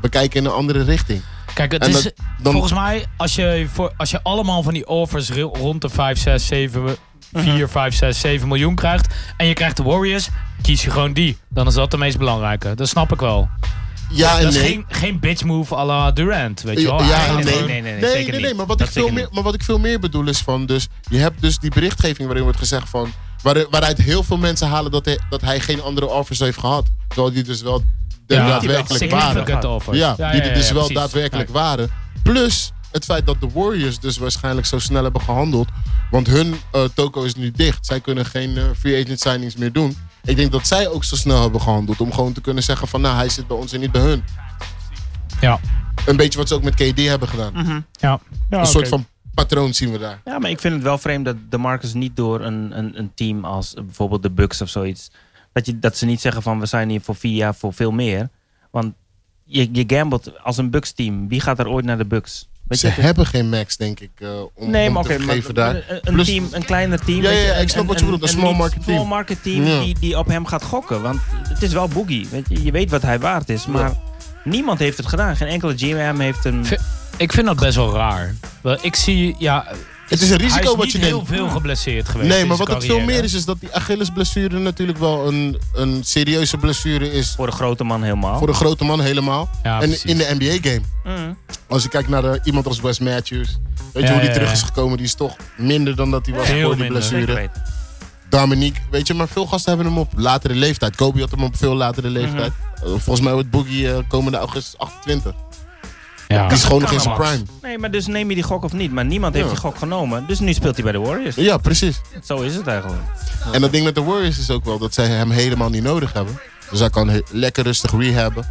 S3: we kijken in een andere richting.
S2: Kijk, het
S3: En
S2: is,
S3: dat- dan-
S2: volgens mij, als je, voor, als je allemaal van die offers ri- rond de 5, 6, 7,
S3: Mhm.
S2: 4, 5, 6, 7 miljoen krijgt. En je krijgt de Warriors, kies je gewoon die. Dan is dat de meest belangrijke. Dat snap ik wel.
S3: Ja en
S2: dat is
S3: nee.
S2: geen, geen bitch move à la Durant, weet je wel. Ah,
S3: Ja,
S2: Hij-
S3: nee,
S4: nee,
S3: nee,
S4: nee, nee,
S3: Nee,
S4: zeker
S3: nee,
S4: niet.
S3: nee, maar wat,
S4: Dat
S3: ik veel
S4: zeker
S3: meer,
S4: niet.
S3: maar wat ik veel meer bedoel is van, dus je hebt dus die berichtgeving waarin wordt gezegd van, waar- waaruit heel veel mensen halen dat hij, dat hij geen andere offers heeft gehad. Terwijl die dus wel de-
S2: Ja,
S3: daadwerkelijk waren.
S2: significant offers.
S3: Ja, die er dus wel
S2: precies.
S3: daadwerkelijk waren. Plus het feit dat de Warriors dus waarschijnlijk zo snel hebben gehandeld. Want hun eh, toko is nu dicht. Zij kunnen geen eh, free agent signings meer doen. Ik denk dat zij ook zo snel hebben gehandeld. Om gewoon te kunnen zeggen van nou hij zit bij ons en niet bij hun.
S2: Ja.
S3: Een beetje wat ze ook met KD hebben gedaan.
S2: Ja.
S4: Ja,
S3: Een
S4: oké.
S3: soort van patroon zien we daar.
S4: Ja, maar ik vind het wel vreemd dat de Marcus niet door een, een, een team als eh, bijvoorbeeld de Bucks of zoiets. Dat, je, dat ze niet zeggen van we zijn hier voor vier jaar voor veel meer. Want je, je gambelt als een Bucks team. Wie gaat er ooit naar de Bucks? Weet
S3: Ze
S4: je,
S3: hebben geen max, denk ik, eh, om,
S4: nee,
S3: om
S4: maar
S3: te
S4: oké,
S3: vergeven
S4: maar
S3: daar.
S4: een- een,
S3: Plus-
S4: team, een kleiner team.
S3: Ja,
S4: weet
S3: ja, ja,
S4: je,
S3: ik snap wat je bedoelt, een small
S4: niet
S3: market team.
S4: small market team
S3: Ja.
S4: die, die op hem gaat gokken. Want het is wel boogie. Weet je, je weet wat hij waard is, maar niemand heeft het gedaan. Geen enkele GM heeft hem.
S2: Ik vind dat best wel raar. Wel, Ik zie, ja,
S3: Het is een risico
S2: hij is
S3: wat
S2: niet
S3: je
S2: heel
S3: neemt.
S2: veel geblesseerd geweest.
S3: Nee,
S2: in
S3: maar
S2: zijn
S3: wat het veel
S2: carrière.
S3: meer is, is dat die Achillesblessure natuurlijk wel een, een serieuze blessure is
S4: Voor de grote man helemaal.
S3: voor een grote man helemaal.
S2: Ja,
S3: en
S2: precies.
S3: in de NBA-game.
S4: Mm.
S3: Als je kijkt naar eh, iemand als Wes Matthews. Weet
S2: Ja,
S3: je hoe die
S2: ja,
S3: terug
S2: ja.
S3: is gekomen? Die is toch minder dan dat hij was
S2: Veel
S3: voor die
S2: minder.
S4: Zeker
S3: blessure.
S4: weten.
S3: Dominique, weet je, maar veel gasten hebben hem op latere leeftijd. Kobe had hem op veel latere
S2: Mhm.
S3: leeftijd. Eh, volgens mij wordt Boogie eh, komende augustus 28.
S2: Ja.
S3: Die is gewoon nog in
S4: kan
S3: zijn
S4: allemaal.
S3: prime.
S4: Nee, maar dus neem je die gok of niet. Maar niemand heeft
S3: Ja.
S4: die gok genomen. Dus nu speelt hij bij de Warriors.
S3: Ja, precies.
S4: Zo is het eigenlijk.
S3: En dat ding met de Warriors is ook wel dat zij hem helemaal niet nodig hebben. Dus hij kan he- lekker rustig rehabben.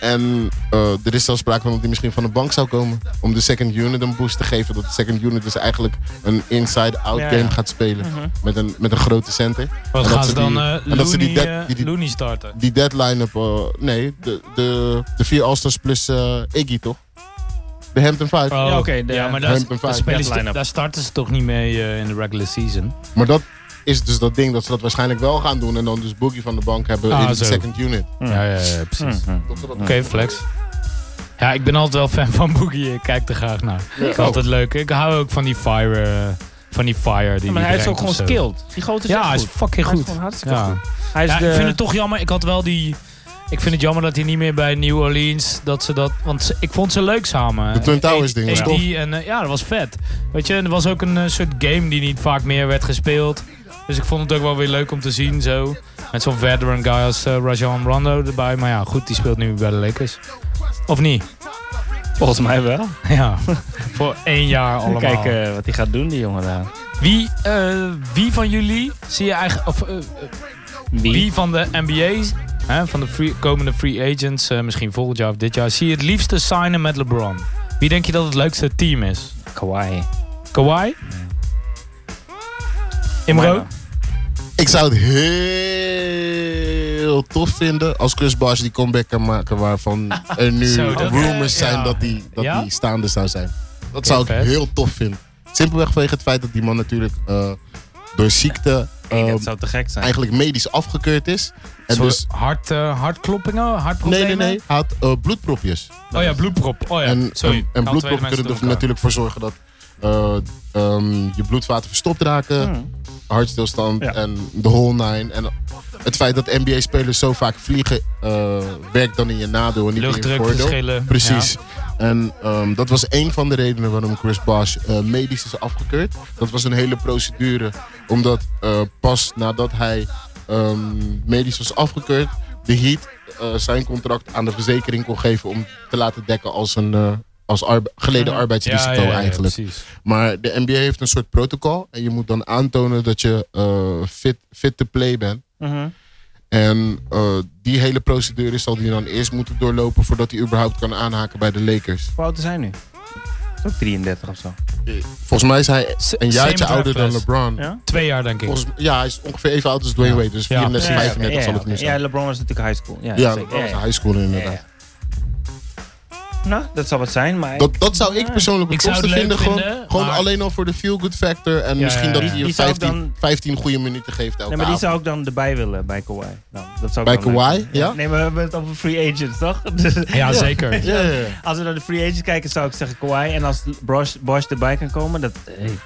S3: En eh, er is zelfs sprake van dat hij misschien van de bank zou komen. Om de second unit een boost te geven. Dat de second unit dus eigenlijk een inside-out
S4: Ja, ja.
S3: game gaat spelen. met, een, met een grote center.
S2: Mhm. Wat
S3: En
S2: gaan
S3: dat
S2: ze
S3: die-
S2: dan eh,
S3: en dat ze die
S2: Looney,
S3: dead-
S2: eh,
S3: die- die-
S2: Looney starten?
S3: die deadline op. eh, nee, de, de, de vier All-Stars plus eh, Iggy, toch? De Hampton 5.
S2: Oh,
S4: Ja, oké, de-
S2: ja, maar daar,
S3: Hampton
S2: daar
S3: Five.
S2: spelen ze-
S4: Deadline up.
S2: daar starten ze toch niet mee eh, in de regular season?
S3: Maar dat is dus dat ding dat ze dat waarschijnlijk wel gaan doen. En dan dus Boogie van de bank hebben
S2: Ah,
S3: in de
S2: zo.
S3: second unit.
S2: Ja, ja, ja, precies. Oké,
S4: Mhm.
S3: Toch dat-
S2: flex. Ja, ik ben altijd wel fan van Boogie. Ik kijk er graag naar. Ik
S3: Oh,
S2: vind het altijd leuk. Ik hou ook van die fire. eh, van die fire die
S4: Ja, maar hij is ook gewoon
S2: skill.
S4: skilled. Die grote is
S2: dus, eh, Ja,
S4: echt
S2: hij is
S4: goed.
S2: fucking
S4: Hij is
S2: goed.
S4: gewoon hartstikke
S2: Ja.
S4: goed. Hij is
S2: Ja,
S4: de...
S2: ik vind het toch jammer. Ik had wel die. Ik vind het jammer dat hij niet meer bij New Orleans. Dat ze dat, want ze- ik vond ze leuk samen.
S3: De Twin Towers
S2: Eh,
S3: ding was
S2: AD
S3: tof.
S2: en, eh, ja, dat was vet. Weet je, en er was ook een eh, soort game die niet vaak meer werd gespeeld. Dus ik vond het ook wel weer leuk om te zien zo. Met zo'n veteran guy als eh, Rajon Rondo erbij. Maar ja, goed, die speelt nu bij de Lakers. Of niet?
S4: volgens mij wel.
S2: Ja, voor één jaar allemaal.
S4: Kijk eh, wat hij gaat doen, die jongen daar.
S2: Wie, eh, wie van jullie zie je eigenlijk... Of, eh, eh, Wie van de NBA's, hè, van de free- komende free agents, eh, misschien volgend jaar of dit jaar, zie je het liefste signen met LeBron? Wie denk je dat het leukste team is?
S4: Kawhi.
S2: Kawhi? Imro?
S3: Ik zou het heel tof vinden als Chris Bosh die comeback kan maken. Waarvan er nu
S2: Zo, dat-
S3: rumors
S2: ja.
S3: zijn dat, die, dat
S2: Ja?
S3: die staande zou zijn. Dat zou ik
S2: vet.
S3: heel tof vinden. Simpelweg vanwege het feit dat die man natuurlijk eh, door ziekte
S4: Hey,
S3: eh,
S4: dat zou te gek zijn.
S3: eigenlijk medisch afgekeurd is. En
S2: Dus
S3: dus
S2: hart, eh, hartkloppingen?
S3: Nee,
S2: Hartproblemen?
S3: nee, nee. Hij had eh, bloedpropjes.
S2: Oh ja, bloedprop. Oh ja,
S3: en
S2: sorry.
S3: en,
S2: Ik haal
S3: en
S2: twee
S3: bloedproppen
S2: mensen
S3: kunnen
S2: door
S3: er
S2: elkaar.
S3: natuurlijk voor zorgen dat eh, ehm, je bloedvaten verstopt raken,
S4: Hmm.
S3: hartstilstand
S4: Ja.
S3: en de whole nine. En het feit dat NBA-spelers zo vaak vliegen, eh, werkt dan in je nadeel en niet in je voordeel.
S2: Luchtdrukverschillen.
S3: Precies. En ehm, dat was één van de redenen waarom Chris Bosh eh, medisch is afgekeurd. Dat was een hele procedure. Omdat eh, pas nadat hij ehm, medisch was afgekeurd, de Heat eh, zijn contract aan de verzekering kon geven om te laten dekken als een eh, als arbe- geleden
S4: Mhm.
S2: Ja, ja,
S3: arbeidsrisico
S2: ja, ja,
S3: eigenlijk.
S2: precies.
S3: Maar de NBA heeft een soort protocol. En je moet dan aantonen dat je eh, fit, fit to play bent.
S4: Mhm.
S3: En eh, die hele procedure zal hij dan eerst moeten doorlopen voordat hij überhaupt kan aanhaken bij de Lakers.
S4: Hoe oud is hij nu? Is ook 33 of zo.
S3: Volgens mij is hij
S2: S-
S3: een jaartje
S2: same
S3: ouder dan
S2: draftclass.
S3: LeBron.
S4: Ja?
S2: Twee jaar denk ik.
S3: Volgens, ja, hij is ongeveer even oud als Dwayne
S2: Ja.
S3: Wade. Dus
S2: Ja,
S3: 34,
S2: precies.
S3: 35 zal het
S4: oké.
S3: nu
S4: Ja,
S3: zijn.
S4: LeBron was natuurlijk high school. Ja,
S3: Ja,
S4: zeker.
S3: LeBron is
S4: Ja,
S3: een high schooler
S4: ja,
S3: inderdaad.
S4: ja. Nou, dat zou wat zijn, maar...
S3: Dat, dat zou ik
S4: Ja.
S3: persoonlijk het
S2: Ik zou
S3: tofste
S2: het leuk
S3: vinden. Gewoon,
S2: vinden,
S3: gewoon
S2: maar-
S3: alleen al voor de feel-good factor. En
S2: Ja,
S3: misschien
S2: ja,
S3: dat
S2: ja.
S3: hij
S4: Die-
S3: je
S4: die zou ik
S3: 15,
S4: dan-
S3: 15 goede minuten geeft elke
S4: Nee, maar die
S3: avond.
S4: zou ik dan erbij willen bij Kawhi. Nou, dat zou ik
S3: Bij
S4: wel leuk
S3: Kawhi,
S4: vinden.
S3: ja?
S4: Nee, maar we hebben het over free agents, toch?
S2: Ja, zeker.
S3: Ja, ja, ja.
S4: Als we naar de free agents kijken, zou ik zeggen Kawhi. En als Bosch, Bosch erbij kan komen, dat... Hey,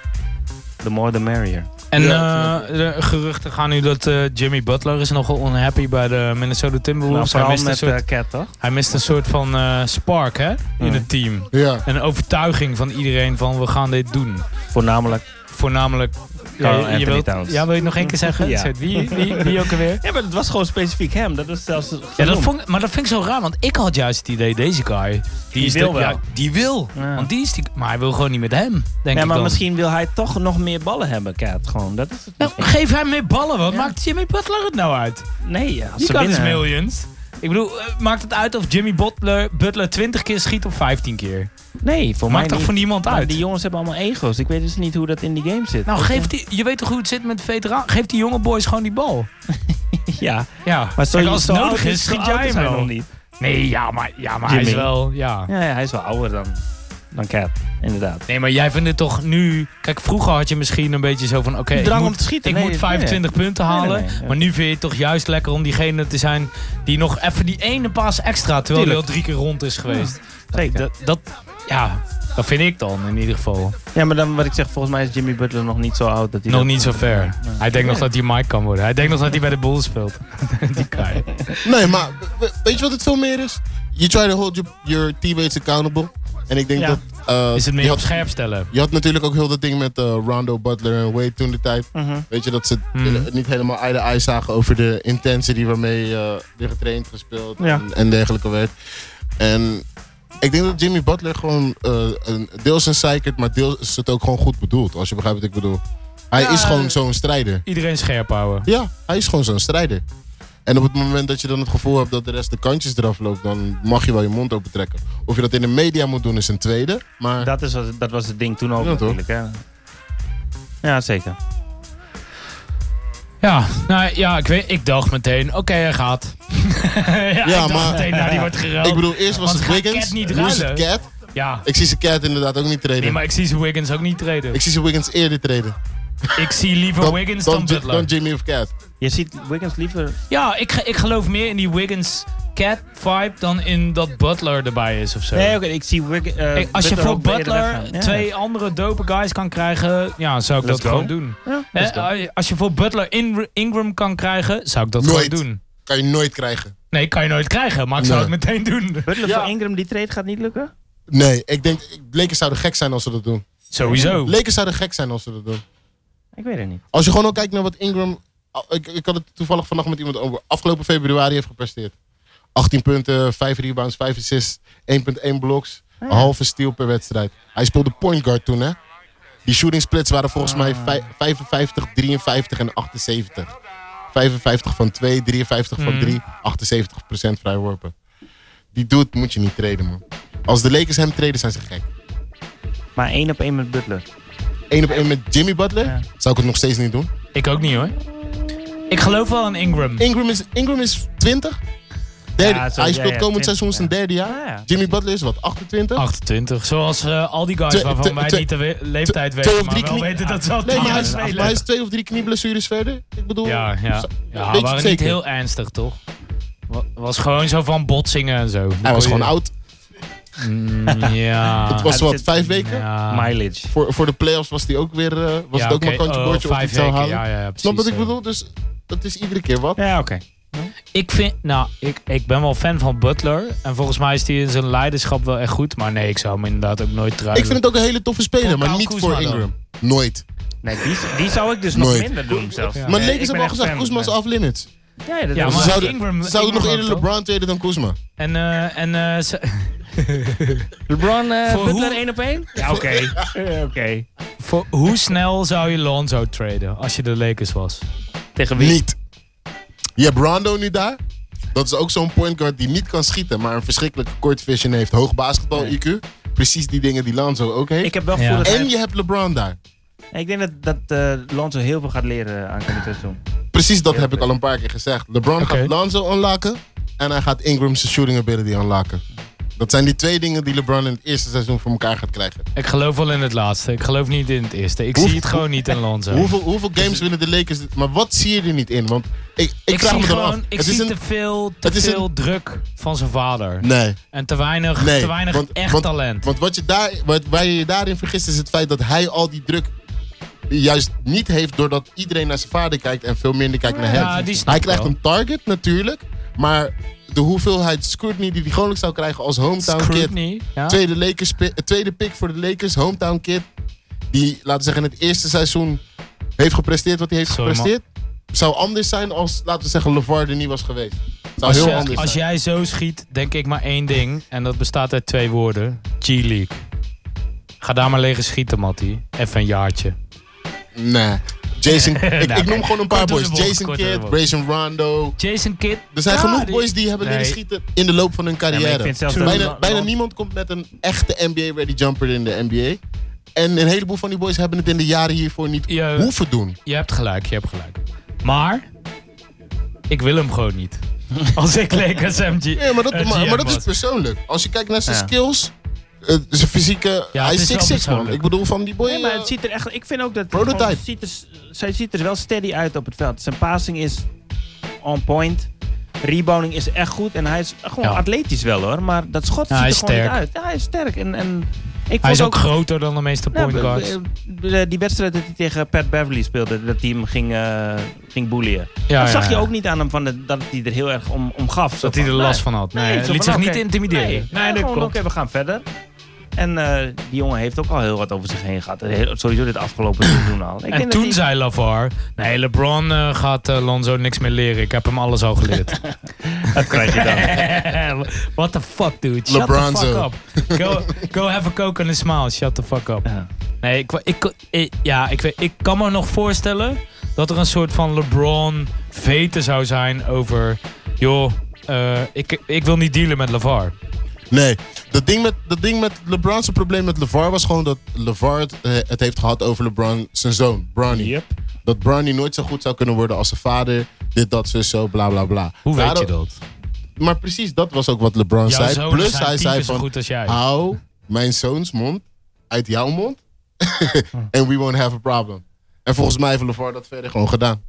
S4: the more the merrier.
S2: En
S3: Ja.
S2: eh, de geruchten gaan nu dat eh, Jimmy Butler is nogal unhappy bij de Minnesota
S4: Nou,
S2: Timberwolves. hij,
S4: vooral
S2: mist een
S4: met
S2: soort,
S4: eh, Cat, toch?
S2: hij mist een soort van eh, spark hè, in
S4: Mm.
S2: het team.
S3: Ja.
S2: Een overtuiging van iedereen van we gaan dit doen.
S4: Voornamelijk.
S2: Voornamelijk...
S4: Carl Anthony
S2: wilt,
S4: Towns.
S2: ja, wil je het nog één keer zeggen?
S4: Ja.
S2: Een soort Wie, wie, wie ook alweer?
S4: Ja, maar het was gewoon specifiek hem. Dat was zelfs
S2: Ja, dat vond, ik- maar dat vind ik zo raar, want ik had juist het idee, deze guy... Die, is
S4: wil
S2: de-
S4: wel.
S2: ja, die wil.
S4: Ja.
S2: Want die is die, maar hij wil gewoon niet met hem, denk ik
S4: Ja, maar
S2: dan.
S4: misschien wil hij toch nog meer ballen hebben, Cat. Gewoon, dat is het.
S2: Nou,
S4: misschien.
S2: geef hem meer ballen, wat
S4: Ja.
S2: maakt Jimmy Butler het nou uit?
S4: nee, ja, als
S2: Die
S4: ze
S2: kan dus
S4: winnen-
S2: millions. Ik bedoel, eh, maakt het uit of Jimmy Butler, Butler 20 keer schiet of 15 keer?
S4: Nee, voor
S2: Maakt
S4: mij
S2: toch
S4: niet.
S2: voor niemand
S4: Maar
S2: uit?
S4: Die jongens hebben allemaal ego's. Ik weet dus niet hoe dat in die game zit.
S2: nou, geef die, je weet toch hoe het zit met veteraan? Geef die jonge boys gewoon die bal.
S4: ja.
S2: Ja,
S4: Maar zo,
S2: Kijk, als het
S4: zo
S2: nodig
S4: oud
S2: is,
S4: zo
S2: schiet
S4: oud
S2: jij
S4: is
S2: hem
S4: hij nog
S2: wel.
S4: niet.
S2: Nee, ja, maar, ja, maar hij is
S4: Jimmy.
S2: wel, ja.
S4: Ja, ja, hij is wel ouder dan, dan Cat, inderdaad.
S2: Nee, maar jij vindt het toch nu... Kijk, vroeger had je misschien een beetje zo van... Oké, ik
S4: Drang
S2: moet-
S4: om te schieten.
S2: Ik
S4: Nee,
S2: moet
S4: nee,
S2: 25 punten
S4: Nee, nee,
S2: halen.
S4: nee, ja.
S2: Maar nu vind je het toch juist lekker om diegene te zijn... die nog even die ene paas extra... terwijl hij al
S4: Tuurlijk.
S2: drie keer rond is geweest.
S4: Zeker.
S2: Dat, dat, Ja, dat vind ik dan in ieder geval.
S4: Ja, maar dan wat ik zeg, volgens mij is Jimmy Butler nog niet zo oud dat hij.
S2: Nog
S4: dat-
S2: niet zo ver. Hij denkt nog dat hij Mike kan worden. Hij denkt nog dat hij bij de Bulls speelt. die guy.
S3: Nee, maar we- weet je wat het veel meer is? You try to hold your, your teammates accountable. En ik denk
S2: Ja.
S3: dat... eh,
S2: Is het
S3: je,
S2: meer op
S3: had,
S2: scherp stellen?
S3: je had natuurlijk ook heel dat ding met eh, Rondo, Butler en Wade toen de tijd.
S4: Mhm.
S3: Weet je, dat ze
S2: Mhm.
S3: het niet helemaal eye to eye zagen over de intensity waarmee eh er getraind, gespeeld
S4: Ja.
S3: en, en dergelijke werd. En ik denk dat Jimmy Butler gewoon eh, een, deels een psychic, maar deels is het ook gewoon goed bedoeld. Als je begrijpt wat ik bedoel. Hij
S2: Ja,
S3: is gewoon
S2: eh.
S3: zo'n strijder.
S2: Iedereen scherp houden.
S3: Ja, hij is gewoon zo'n strijder. En op het moment dat je dan het gevoel hebt dat de rest de kantjes eraf loopt, dan mag je wel je mond open trekken. Of je dat in de media moet doen, is een tweede. Maar
S4: Dat, is, wat- dat was het ding toen ook
S3: Ja, toch?
S4: natuurlijk. Hè. Ja, zeker.
S2: Ja, nou ja, ik, weet, ik dacht meteen, oké, hij gaat. ja, ik dacht
S3: maar-
S2: meteen, nou, die wordt geruild.
S3: ik bedoel, eerst
S2: Want
S3: was het
S2: gaat
S3: Wiggins,
S2: Cat niet
S3: nu is het
S2: ruilen?
S3: Cat.
S2: ja,
S3: Ik zie zijn Cat inderdaad ook niet treden.
S2: nee, maar ik zie ze Wiggins ook niet treden.
S3: Ik
S2: Ik,
S3: zie ze Wiggins eerder treden.
S2: zie liever Wiggins dan,
S3: Ji-
S2: Butler.
S3: dan Jimmy of Cat.
S4: Je ziet Wiggins liever. eh,
S2: ja, ik, ge- ik geloof meer in die Wiggins-Cat-vibe dan in dat Butler erbij is of zo.
S4: Nee, oké, ik zie Wiggins. eh,
S2: Hey, als je
S4: Butler
S2: voor
S4: ook eerder
S2: Butler
S4: weggaan. Ja.
S2: twee andere dope guys kan krijgen, ja, zou ik
S4: Let's
S2: dat
S4: go.
S2: gewoon doen.
S4: Ja,
S2: Hè,
S4: let's go.
S2: als je voor Butler In- Ingram kan krijgen, zou ik dat
S3: Nooit.
S2: gewoon doen.
S3: Kan je nooit krijgen.
S2: Nee, kan je nooit krijgen, maar ik zou
S3: Nee.
S2: het meteen doen.
S4: Butler
S3: Ja.
S4: voor Ingram, die trade gaat niet lukken?
S3: Nee, ik denk, Lakers zouden gek zijn als ze dat doen.
S2: Sowieso.
S3: Lakers zouden gek zijn als ze dat doen.
S4: Ik weet het niet.
S3: Als je gewoon ook kijkt naar wat Ingram... Oh, Ik, ik had het toevallig vannacht met iemand over. Afgelopen februari heeft gepresteerd. 18 punten, 5 rebounds, 5 assists, 1.1 bloks. Een halve steal per wedstrijd. Hij speelde point guard toen, hè? Die shooting splits waren volgens mij vij- 55, 53 en 78. 55 van 2, 53 van
S2: Mm.
S3: 3, 78 vrijworpen. Die dude moet je niet treden, man. Als de Lakers hem treden, zijn ze gek.
S4: Maar één op één met Butler.
S3: Eén op één met Jimmy Butler
S4: Ja.
S3: zou ik het nog steeds niet doen.
S2: Ik ook niet hoor. Ik geloof wel in Ingram.
S3: Ingram is, Ingram is 20. Derde,
S4: Ja, zo-
S3: hij
S4: ja,
S3: speelt
S4: ja,
S3: komend
S4: 20,
S3: seizoen zijn
S4: ja.
S3: derde jaar.
S4: Ah, ja.
S3: Jimmy Butler is wat, 28?
S2: 28, zoals eh, al die guys
S3: Twee-
S2: waarvan
S3: twee-
S2: wij
S3: twee-
S2: niet de we- leeftijd weten,
S3: twee- twee of
S2: maar
S3: drie
S2: wel
S3: knie-
S2: weten dat ze al
S3: nee, maar hij, is,
S2: spelen.
S3: maar hij is twee of drie knieblessures verder. Ik bedoel,
S2: Ja, ja.
S3: zo-
S2: ja
S3: weet
S2: we
S3: je het
S2: waren niet
S3: zeker?
S2: heel ernstig toch? Wa- Was gewoon zo van botsingen en zo.
S3: Hij was gewoon oud.
S2: Mm, ja.
S3: Het was
S4: het
S3: wat,
S4: zit-
S3: vijf weken?
S2: ja.
S4: Mileage.
S3: Voor, voor de playoffs was hij ook weer, eh, was
S2: Ja,
S3: het ook
S2: oké,
S3: maar kantje
S2: oh,
S3: boordje of hij
S2: vijf
S3: het zou
S2: weken,
S3: halen.
S2: Ja, ja, ja,
S3: Snap wat
S2: precies,
S3: ik
S2: ja.
S3: bedoel? Dus dat is iedere keer wat.
S4: Ja, oké.
S2: Ik vind, nou, ik, ik ben wel fan van Butler. En volgens mij is hij in zijn leiderschap wel echt goed. Maar nee, ik zou hem inderdaad ook nooit
S3: Ik
S2: truilen.
S3: vind het ook een hele toffe speler,
S2: Voor
S3: maar
S2: Kyle
S3: niet
S2: Kuzma dan.
S3: voor Ingram. Nooit.
S4: Nee, die, die zou ik dus
S3: Nooit.
S4: nog minder doen zelfs.
S2: Ja.
S3: Maar
S4: Nee,
S3: Lakers
S4: ik ben
S3: hebben al
S4: echt
S3: gezegd,
S4: fan.
S3: Kuzma is off limits.
S4: Ja, dat
S2: Ja,
S4: is-
S2: maar
S3: ze zouden,
S2: Ingram-
S3: ze zouden nog
S2: Ingram
S3: eerder
S2: ook, toch?
S3: LeBron tweede dan Kuzma.
S2: En, eh, en eh, ze-
S4: LeBron eh,
S2: Voor
S4: Butler
S2: hoe-
S4: één op één? Ja, oké. Eh, Oké.
S2: voor, hoe snel zou je Lonzo traden als je de Lakers was?
S4: Tegen wie?
S3: Niet. Je hebt Rondo nu daar. Dat is ook zo'n point guard die niet kan schieten, maar een verschrikkelijke court vision heeft. Hoog basketbal IQ. Precies die dingen die Lanzo ook heeft.
S4: Ik heb wel
S2: Ja.
S4: gevoel dat hij-
S3: en je hebt LeBron daar.
S4: Ik denk dat, dat eh, Lonzo heel veel gaat leren aan komend seizoen.
S3: Precies dat
S4: Ja,
S3: heb ik
S4: oké.
S3: al een paar keer gezegd. LeBron
S2: Oké.
S3: gaat Lanzo unlocken en hij gaat Ingram zijn shooting ability unlocken. Dat zijn die twee dingen die LeBron in het eerste seizoen voor elkaar gaat krijgen.
S2: Ik geloof wel in het laatste. Ik geloof niet in het eerste. Ik
S3: Hoe-
S2: zie het gewoon niet in Lonzo.
S3: Hoeveel, hoeveel games winnen de Lakers? dit- Maar wat zie je er niet in? Want ik, ik,
S2: Dus ik
S3: vraag
S2: zie
S3: me dan af.
S2: gewoon, ik
S3: Het is
S2: zie
S3: een-
S2: te veel, te
S3: het is een-
S2: veel druk van zijn vader.
S3: Nee.
S2: En te weinig,
S3: Nee,
S2: te weinig
S3: want-
S2: echt
S3: want-
S2: talent.
S3: Want wat je daar, wat, waar je je daarin vergist is het feit dat hij al die druk juist niet heeft doordat iedereen naar zijn vader kijkt en veel minder kijkt naar hem.
S2: Ja, die snap
S3: hij
S2: ik
S3: krijgt
S2: wel.
S3: een target natuurlijk, maar de hoeveelheid scrutiny die hij gewoonlijk zou krijgen als hometown kid.
S2: Scrutiny. Ja?
S3: Tweede, Lakers, pi- eh, tweede pick voor de Lakers, hometown kid. Die, laten we zeggen, in het eerste seizoen heeft gepresteerd wat hij heeft
S2: Sorry, man.
S3: gepresteerd. Zou anders zijn als, laten we zeggen, LeVar er niet was geweest. Zou
S2: Als,
S3: heel
S2: je-
S3: anders
S2: als
S3: zijn.
S2: jij zo schiet, denk ik maar één ding. En dat bestaat uit twee woorden. G-League. Ga daar maar liggen schieten, Matty. Even een jaartje.
S3: Nee. Jason,
S4: Nou,
S3: ik, ik
S2: oké.
S3: noem gewoon een paar
S2: Kort door
S3: boys.
S2: de bocht,
S3: Jason
S2: kort door de
S3: Kidd,
S2: bocht.
S3: Grayson Rondo.
S2: Jason Kidd.
S3: Er zijn
S2: ja,
S3: genoeg boys die hebben leren
S2: Nee.
S3: schieten in de loop van hun
S4: Ah, Ja, maar ik
S3: carrière.
S4: vind zelfs dat-
S3: bijna, bijna niemand komt met een echte NBA-ready jumper in de NBA. En een heleboel van die boys hebben het in de jaren hiervoor niet
S2: Ja.
S3: hoeven doen.
S2: Je hebt gelijk, je hebt gelijk. Maar, ik wil hem gewoon niet. Als ik Lakers MG.
S3: Ja, maar dat,
S2: eh,
S3: maar,
S2: GM
S3: maar dat is
S2: was.
S3: persoonlijk. Als je kijkt naar zijn
S4: Ja.
S3: skills, eh, zijn fysieke...
S2: Ja,
S3: hij
S2: het is wel
S3: is 6'6 man.
S2: persoonlijk.
S3: Ik bedoel, van die boy...
S4: Nee, maar het
S3: eh,
S4: ziet er echt... Ik vind ook dat...
S3: Prototype.
S4: gewoon- het ziet er, zij ziet er wel steady uit op het veld. Zijn passing is on point. Rebounding is echt goed. En hij is gewoon
S2: Ja.
S4: atletisch wel hoor. Maar dat schot
S2: Ja,
S4: ziet
S2: hij
S4: er
S2: is
S4: gewoon niet
S2: sterk.
S4: uit. Ja, hij is sterk. En, en ik
S2: Hij
S4: vond
S2: is
S4: ook
S2: ook groter dan de meeste
S4: Ja,
S2: point guards.
S4: b- b- b- Die wedstrijd dat hij tegen Pat Beverly speelde, dat hij hem ging, eh ging boeien.
S2: Ja,
S4: dat
S2: ja,
S4: zag je
S2: ja.
S4: ook niet aan hem van de- dat hij er heel erg om, om gaf. Zo
S2: Dat hij er
S4: van,
S2: last
S4: nee.
S2: van had. Nee,
S4: zo
S2: hij
S4: van,
S2: liet zich niet
S4: oké.
S2: intimideren.
S4: Nee, nee,
S2: dat
S4: gewoon oké,
S2: klopt.
S4: we gaan verder. En eh, die jongen heeft ook al heel wat over zich heen gehad. Heel- Sowieso dit afgelopen seizoen al. Ik denk
S2: En
S4: dat
S2: toen
S4: die-
S2: zei LaVar, nee, LeBron eh, gaat eh, Lonzo niks meer leren. Ik heb hem alles al geleerd.
S4: Dat krijg je dan.
S2: What the fuck, dude? Shut the fuck
S3: LeBronzo.
S2: up. Go, go have a coke and a smile. Shut the fuck up.
S4: Ja.
S2: Nee, ik, wa- ik, ik- ja, ik, weet- ik kan me nog voorstellen dat er een soort van LeBron veten zou zijn over... joh, eh, ik, ik wil niet dealen met LaVar.
S3: Nee, dat ding met, dat ding met LeBron's probleem met LeVar was gewoon dat LeVar het, eh, het heeft gehad over LeBron, zijn zoon, Bronny. Dat Bronny nooit zo goed zou kunnen worden als zijn vader, dit, dat, zo, zo, bla, bla, bla.
S2: Hoe weet
S3: Daarom-
S2: je dat?
S3: Maar precies dat was ook wat LeBron
S2: Jouw
S3: zei.
S2: zoon
S3: Plus
S2: zijn
S3: hij
S2: tien
S3: zei
S2: keer zo
S3: van,
S2: goed als jij.
S3: hou mijn zoons mond uit jouw mond and we won't have a problem. En volgens mij heeft LeVar dat verder gewoon gedaan.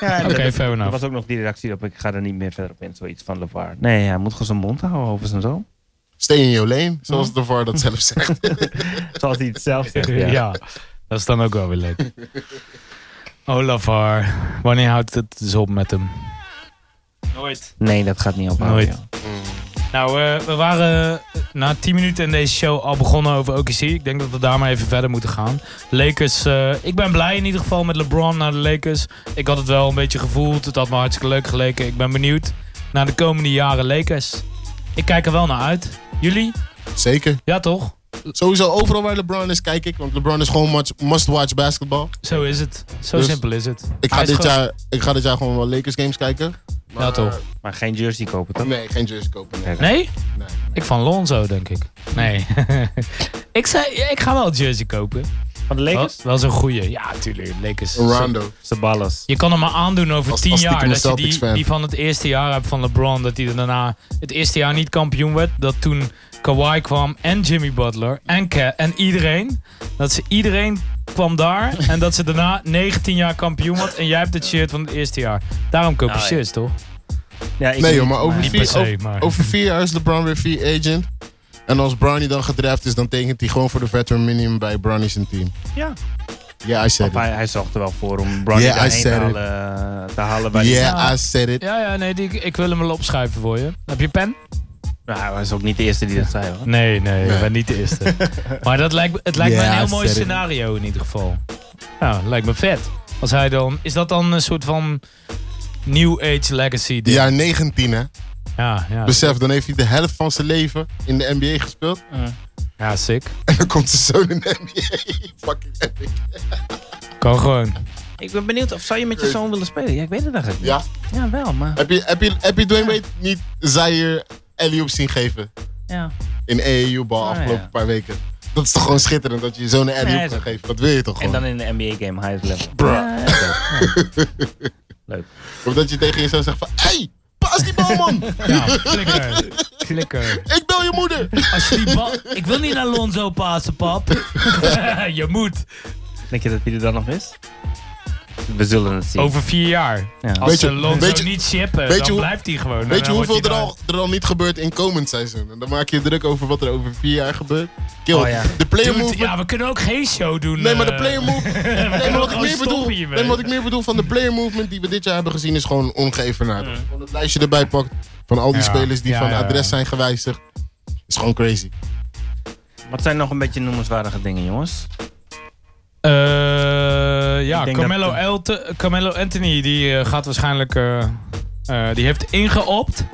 S4: Ja, en
S2: Oké,
S4: dat-
S2: fair
S4: Er
S2: enough.
S4: was ook nog die reactie op, ik ga er niet meer verder op in, zoiets van LeVar. Nee, hij moet gewoon zijn mond houden over zijn zoon.
S3: Stay in your lane, zoals
S2: Mhm.
S3: LeVar dat zelf zegt.
S4: Zoals hij het zelf zegt.
S2: ja. dat is dan ook wel weer leuk. Olafar, wanneer houdt het dus op met hem? Nooit.
S4: Nee, dat gaat niet ophouden.
S2: Nooit.
S4: joh.
S2: Nou, eh, we waren na 10 minuten in deze show al begonnen over OKC. Ik denk dat we daar maar even verder moeten gaan. Lakers, eh, ik ben blij in ieder geval met LeBron naar de Lakers. Ik had het wel een beetje gevoeld. Het had me hartstikke leuk geleken. Ik ben benieuwd naar de komende jaren Lakers. Ik kijk er wel naar uit. Jullie?
S3: Zeker.
S2: Ja, toch?
S3: Sowieso overal waar LeBron is, kijk ik. Want LeBron is gewoon much- must-watch basketbal.
S2: Zo is het. Zo
S3: Dus-
S2: simpel is het.
S3: Ik
S2: Hij
S3: ga,
S2: is
S3: dit
S2: gewoon-
S3: jaar, ik ga dit jaar gewoon wel Lakers games kijken.
S2: Ja, toch?
S4: Maar geen jersey kopen toch?
S3: Nee, geen jersey kopen. Nee.
S2: Nee?
S3: Nee.
S2: Ik van Lonzo, denk ik. Nee. ik, zei, ik ga wel een jersey kopen.
S4: Van de Lakers?
S2: Wel, wel zo'n goeie. Ja, tuurlijk. Lakers.
S3: Een Rondo.
S4: Sabalas.
S2: Je kan hem maar aandoen over
S3: Als-
S2: tien
S3: als
S2: jaar.
S3: stiekem
S2: Dat je die,
S3: Celtics fan.
S2: die van het eerste jaar hebt van LeBron. Dat hij er daarna het eerste jaar niet kampioen werd. Dat toen Kawhi kwam en Jimmy Butler en, Ke- en iedereen. Dat ze iedereen kwam daar. en dat ze daarna 19 jaar kampioen werd. En jij hebt het shirt van het eerste jaar. Daarom koop je
S4: Nou, ja.
S2: shirts, toch?
S4: Ja, ik
S3: Nee,
S4: niet,
S3: joh, maar over
S2: Niet
S3: vier,
S2: per se,
S3: over-
S2: maar-
S3: over vier jaar is LeBron weer free agent. En als Bronny dan gedraft is, dan tekent hij gewoon voor de veteran minimum bij Bronny's team.
S4: Ja.
S3: Yeah, I said
S4: Of hij, hij zorgt er wel voor om Bronny
S3: Yeah, I
S4: daarheen te
S3: said it.
S4: halen, eh, te halen bij
S3: it.
S4: die-
S3: Yeah, I said it.
S2: Ja, ja, nee. Die, ik wil hem wel opschrijven voor je. Heb je pen?
S4: Nou, hij is ook niet de eerste die dat zei hoor.
S2: Nee, nee, ik ben niet de eerste. maar dat lijkt, me- het lijkt me
S3: Ja,
S2: een heel mooi
S3: sterk.
S2: scenario in ieder geval. Nou, lijkt me vet. Als hij dan, is dat dan een soort van New Age Legacy? ding?
S3: Jaar 19, hè?
S2: ja, ja.
S3: Besef, dan heeft hij de helft van zijn leven in de NBA gespeeld.
S2: Ja, sick.
S3: En dan komt zijn zoon in de NBA. Fucking epic.
S2: Kan gewoon.
S4: Ik ben benieuwd of zou je met je zoon willen spelen? Ja, ik weet het eigenlijk niet.
S3: Ja.
S4: Ja, wel, maar
S3: Heb je, heb je, heb je Dwayne Wade niet Zaire Elliop zien geven?
S4: ja.
S3: In E AAU-bal
S4: Ah,
S3: afgelopen
S4: ja.
S3: paar weken. Dat is toch gewoon schitterend dat je je zoon een Elliop
S4: is
S3: kan
S4: ook-
S3: geven? Dat wil je toch
S4: En
S3: gewoon?
S4: dan in de NBA-game, highest level.
S3: Bruh.
S4: Ja, oké. Ja. Leuk.
S3: Of dat je tegen je zoon zegt van... Hey, pas die bal, man!
S2: Ja, flikker. flikker.
S3: Ik bel je moeder!
S2: Als je die bal... Ik wil niet naar Lonzo passen, pap. je moet.
S4: Denk je dat hij er dan nog is? We zullen het zien.
S2: Over vier jaar.
S4: Ja.
S2: Als
S3: Weet je-
S2: ze Lonzo
S3: weet je-
S2: niet chippen,
S3: weet je
S2: dan
S3: hoe-
S2: blijft hij gewoon. En
S3: Weet je
S2: dan
S3: hoeveel
S2: wordt
S3: er
S2: hij
S3: al, er al niet gebeurt in komend seizoen? En dan maak je je druk over wat er over vier jaar gebeurt. Kill.
S4: Oh, ja.
S3: De player
S2: Dude,
S3: movement.
S2: ja, we kunnen ook geen show doen.
S3: Nee, maar de
S2: eh,
S3: player movement.
S2: we
S3: Nee,
S2: kunnen
S3: maar
S2: ook
S3: wat ik
S2: gewoon
S3: meer bedoel.
S2: stoppen
S3: Nee,
S2: hiermee.
S3: maar wat ik meer bedoel van de player movement die we dit jaar hebben gezien is gewoon ongeëvenaard. Als je gewoon het lijstje erbij pakt van al die
S2: Ja.
S3: spelers die
S2: Ja,
S3: van
S2: ja, ja.
S3: adres zijn gewijzigd. Is gewoon crazy.
S4: Wat zijn nog een beetje noemenswaardige dingen, jongens?
S2: Eh, ja,
S4: Ik denk
S2: Carmelo,
S4: dat-
S2: Elte- Carmelo Anthony die eh, gaat waarschijnlijk. eh, eh, die heeft ingeopt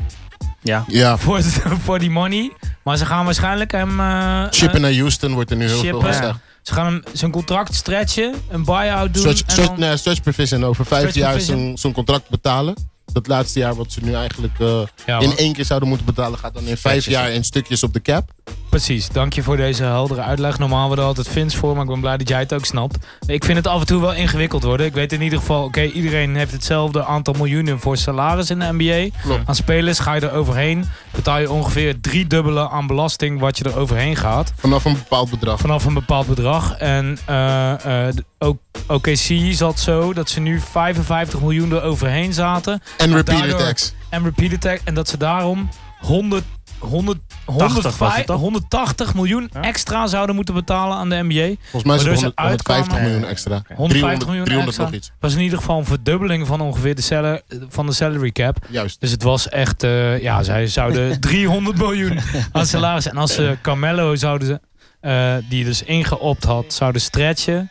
S4: Ja.
S3: Ja,
S2: voor, voor die money. Maar ze gaan waarschijnlijk hem. eh,
S3: chippen naar Houston wordt er nu heel veel
S2: Chippen.
S3: gezegd.
S2: Ze gaan hem zijn contract stretchen, een buy-out doen.
S3: Stretch,
S2: en
S3: stretch,
S2: dan-
S3: nee, stretch Provision over vijf
S2: Stretch
S3: jaar
S2: Provision.
S3: zijn zijn contract betalen. Dat laatste jaar wat ze nu eigenlijk eh,
S2: Ja,
S3: in
S2: maar-
S3: één keer zouden moeten betalen gaat dan in vijf
S4: Stretches.
S3: jaar in stukjes op de cap.
S2: Precies, dank je voor deze heldere uitleg. Normaal hadden we er altijd Vins voor, maar ik ben blij dat jij het ook snapt. Ik vind het af en toe wel ingewikkeld worden. Ik weet in ieder geval, oké, iedereen heeft hetzelfde aantal miljoenen voor salaris in de NBA.
S3: Klopt.
S2: Aan spelers ga je er overheen, betaal je ongeveer drie dubbele aan belasting wat je er overheen gaat
S3: Vanaf een bepaald bedrag.
S2: vanaf een bepaald bedrag. En eh, eh, O- OKC zat zo dat ze nu 55 miljoen er overheen zaten.
S3: En repeater
S2: daardoor-
S3: tax.
S2: En repeat attack. En dat ze daarom 100, 100,
S4: 80 was het toch?
S2: 180 miljoen
S4: Ja.
S2: extra zouden moeten betalen aan de NBA.
S3: Volgens mij is
S2: Waardoor
S3: het
S2: ze
S3: 100 150
S2: uitkwamen-
S3: miljoen extra.
S2: 150 miljoen
S3: 300
S2: extra.
S3: nog iets.
S2: Dat was in ieder geval een verdubbeling van ongeveer de, sala- van de salary cap.
S3: Juist.
S2: Dus het was echt, eh, ja, zij zouden 300 miljoen aan salaris. En als ze Carmelo zouden, ze, eh, die dus ingeopt had, zouden stretchen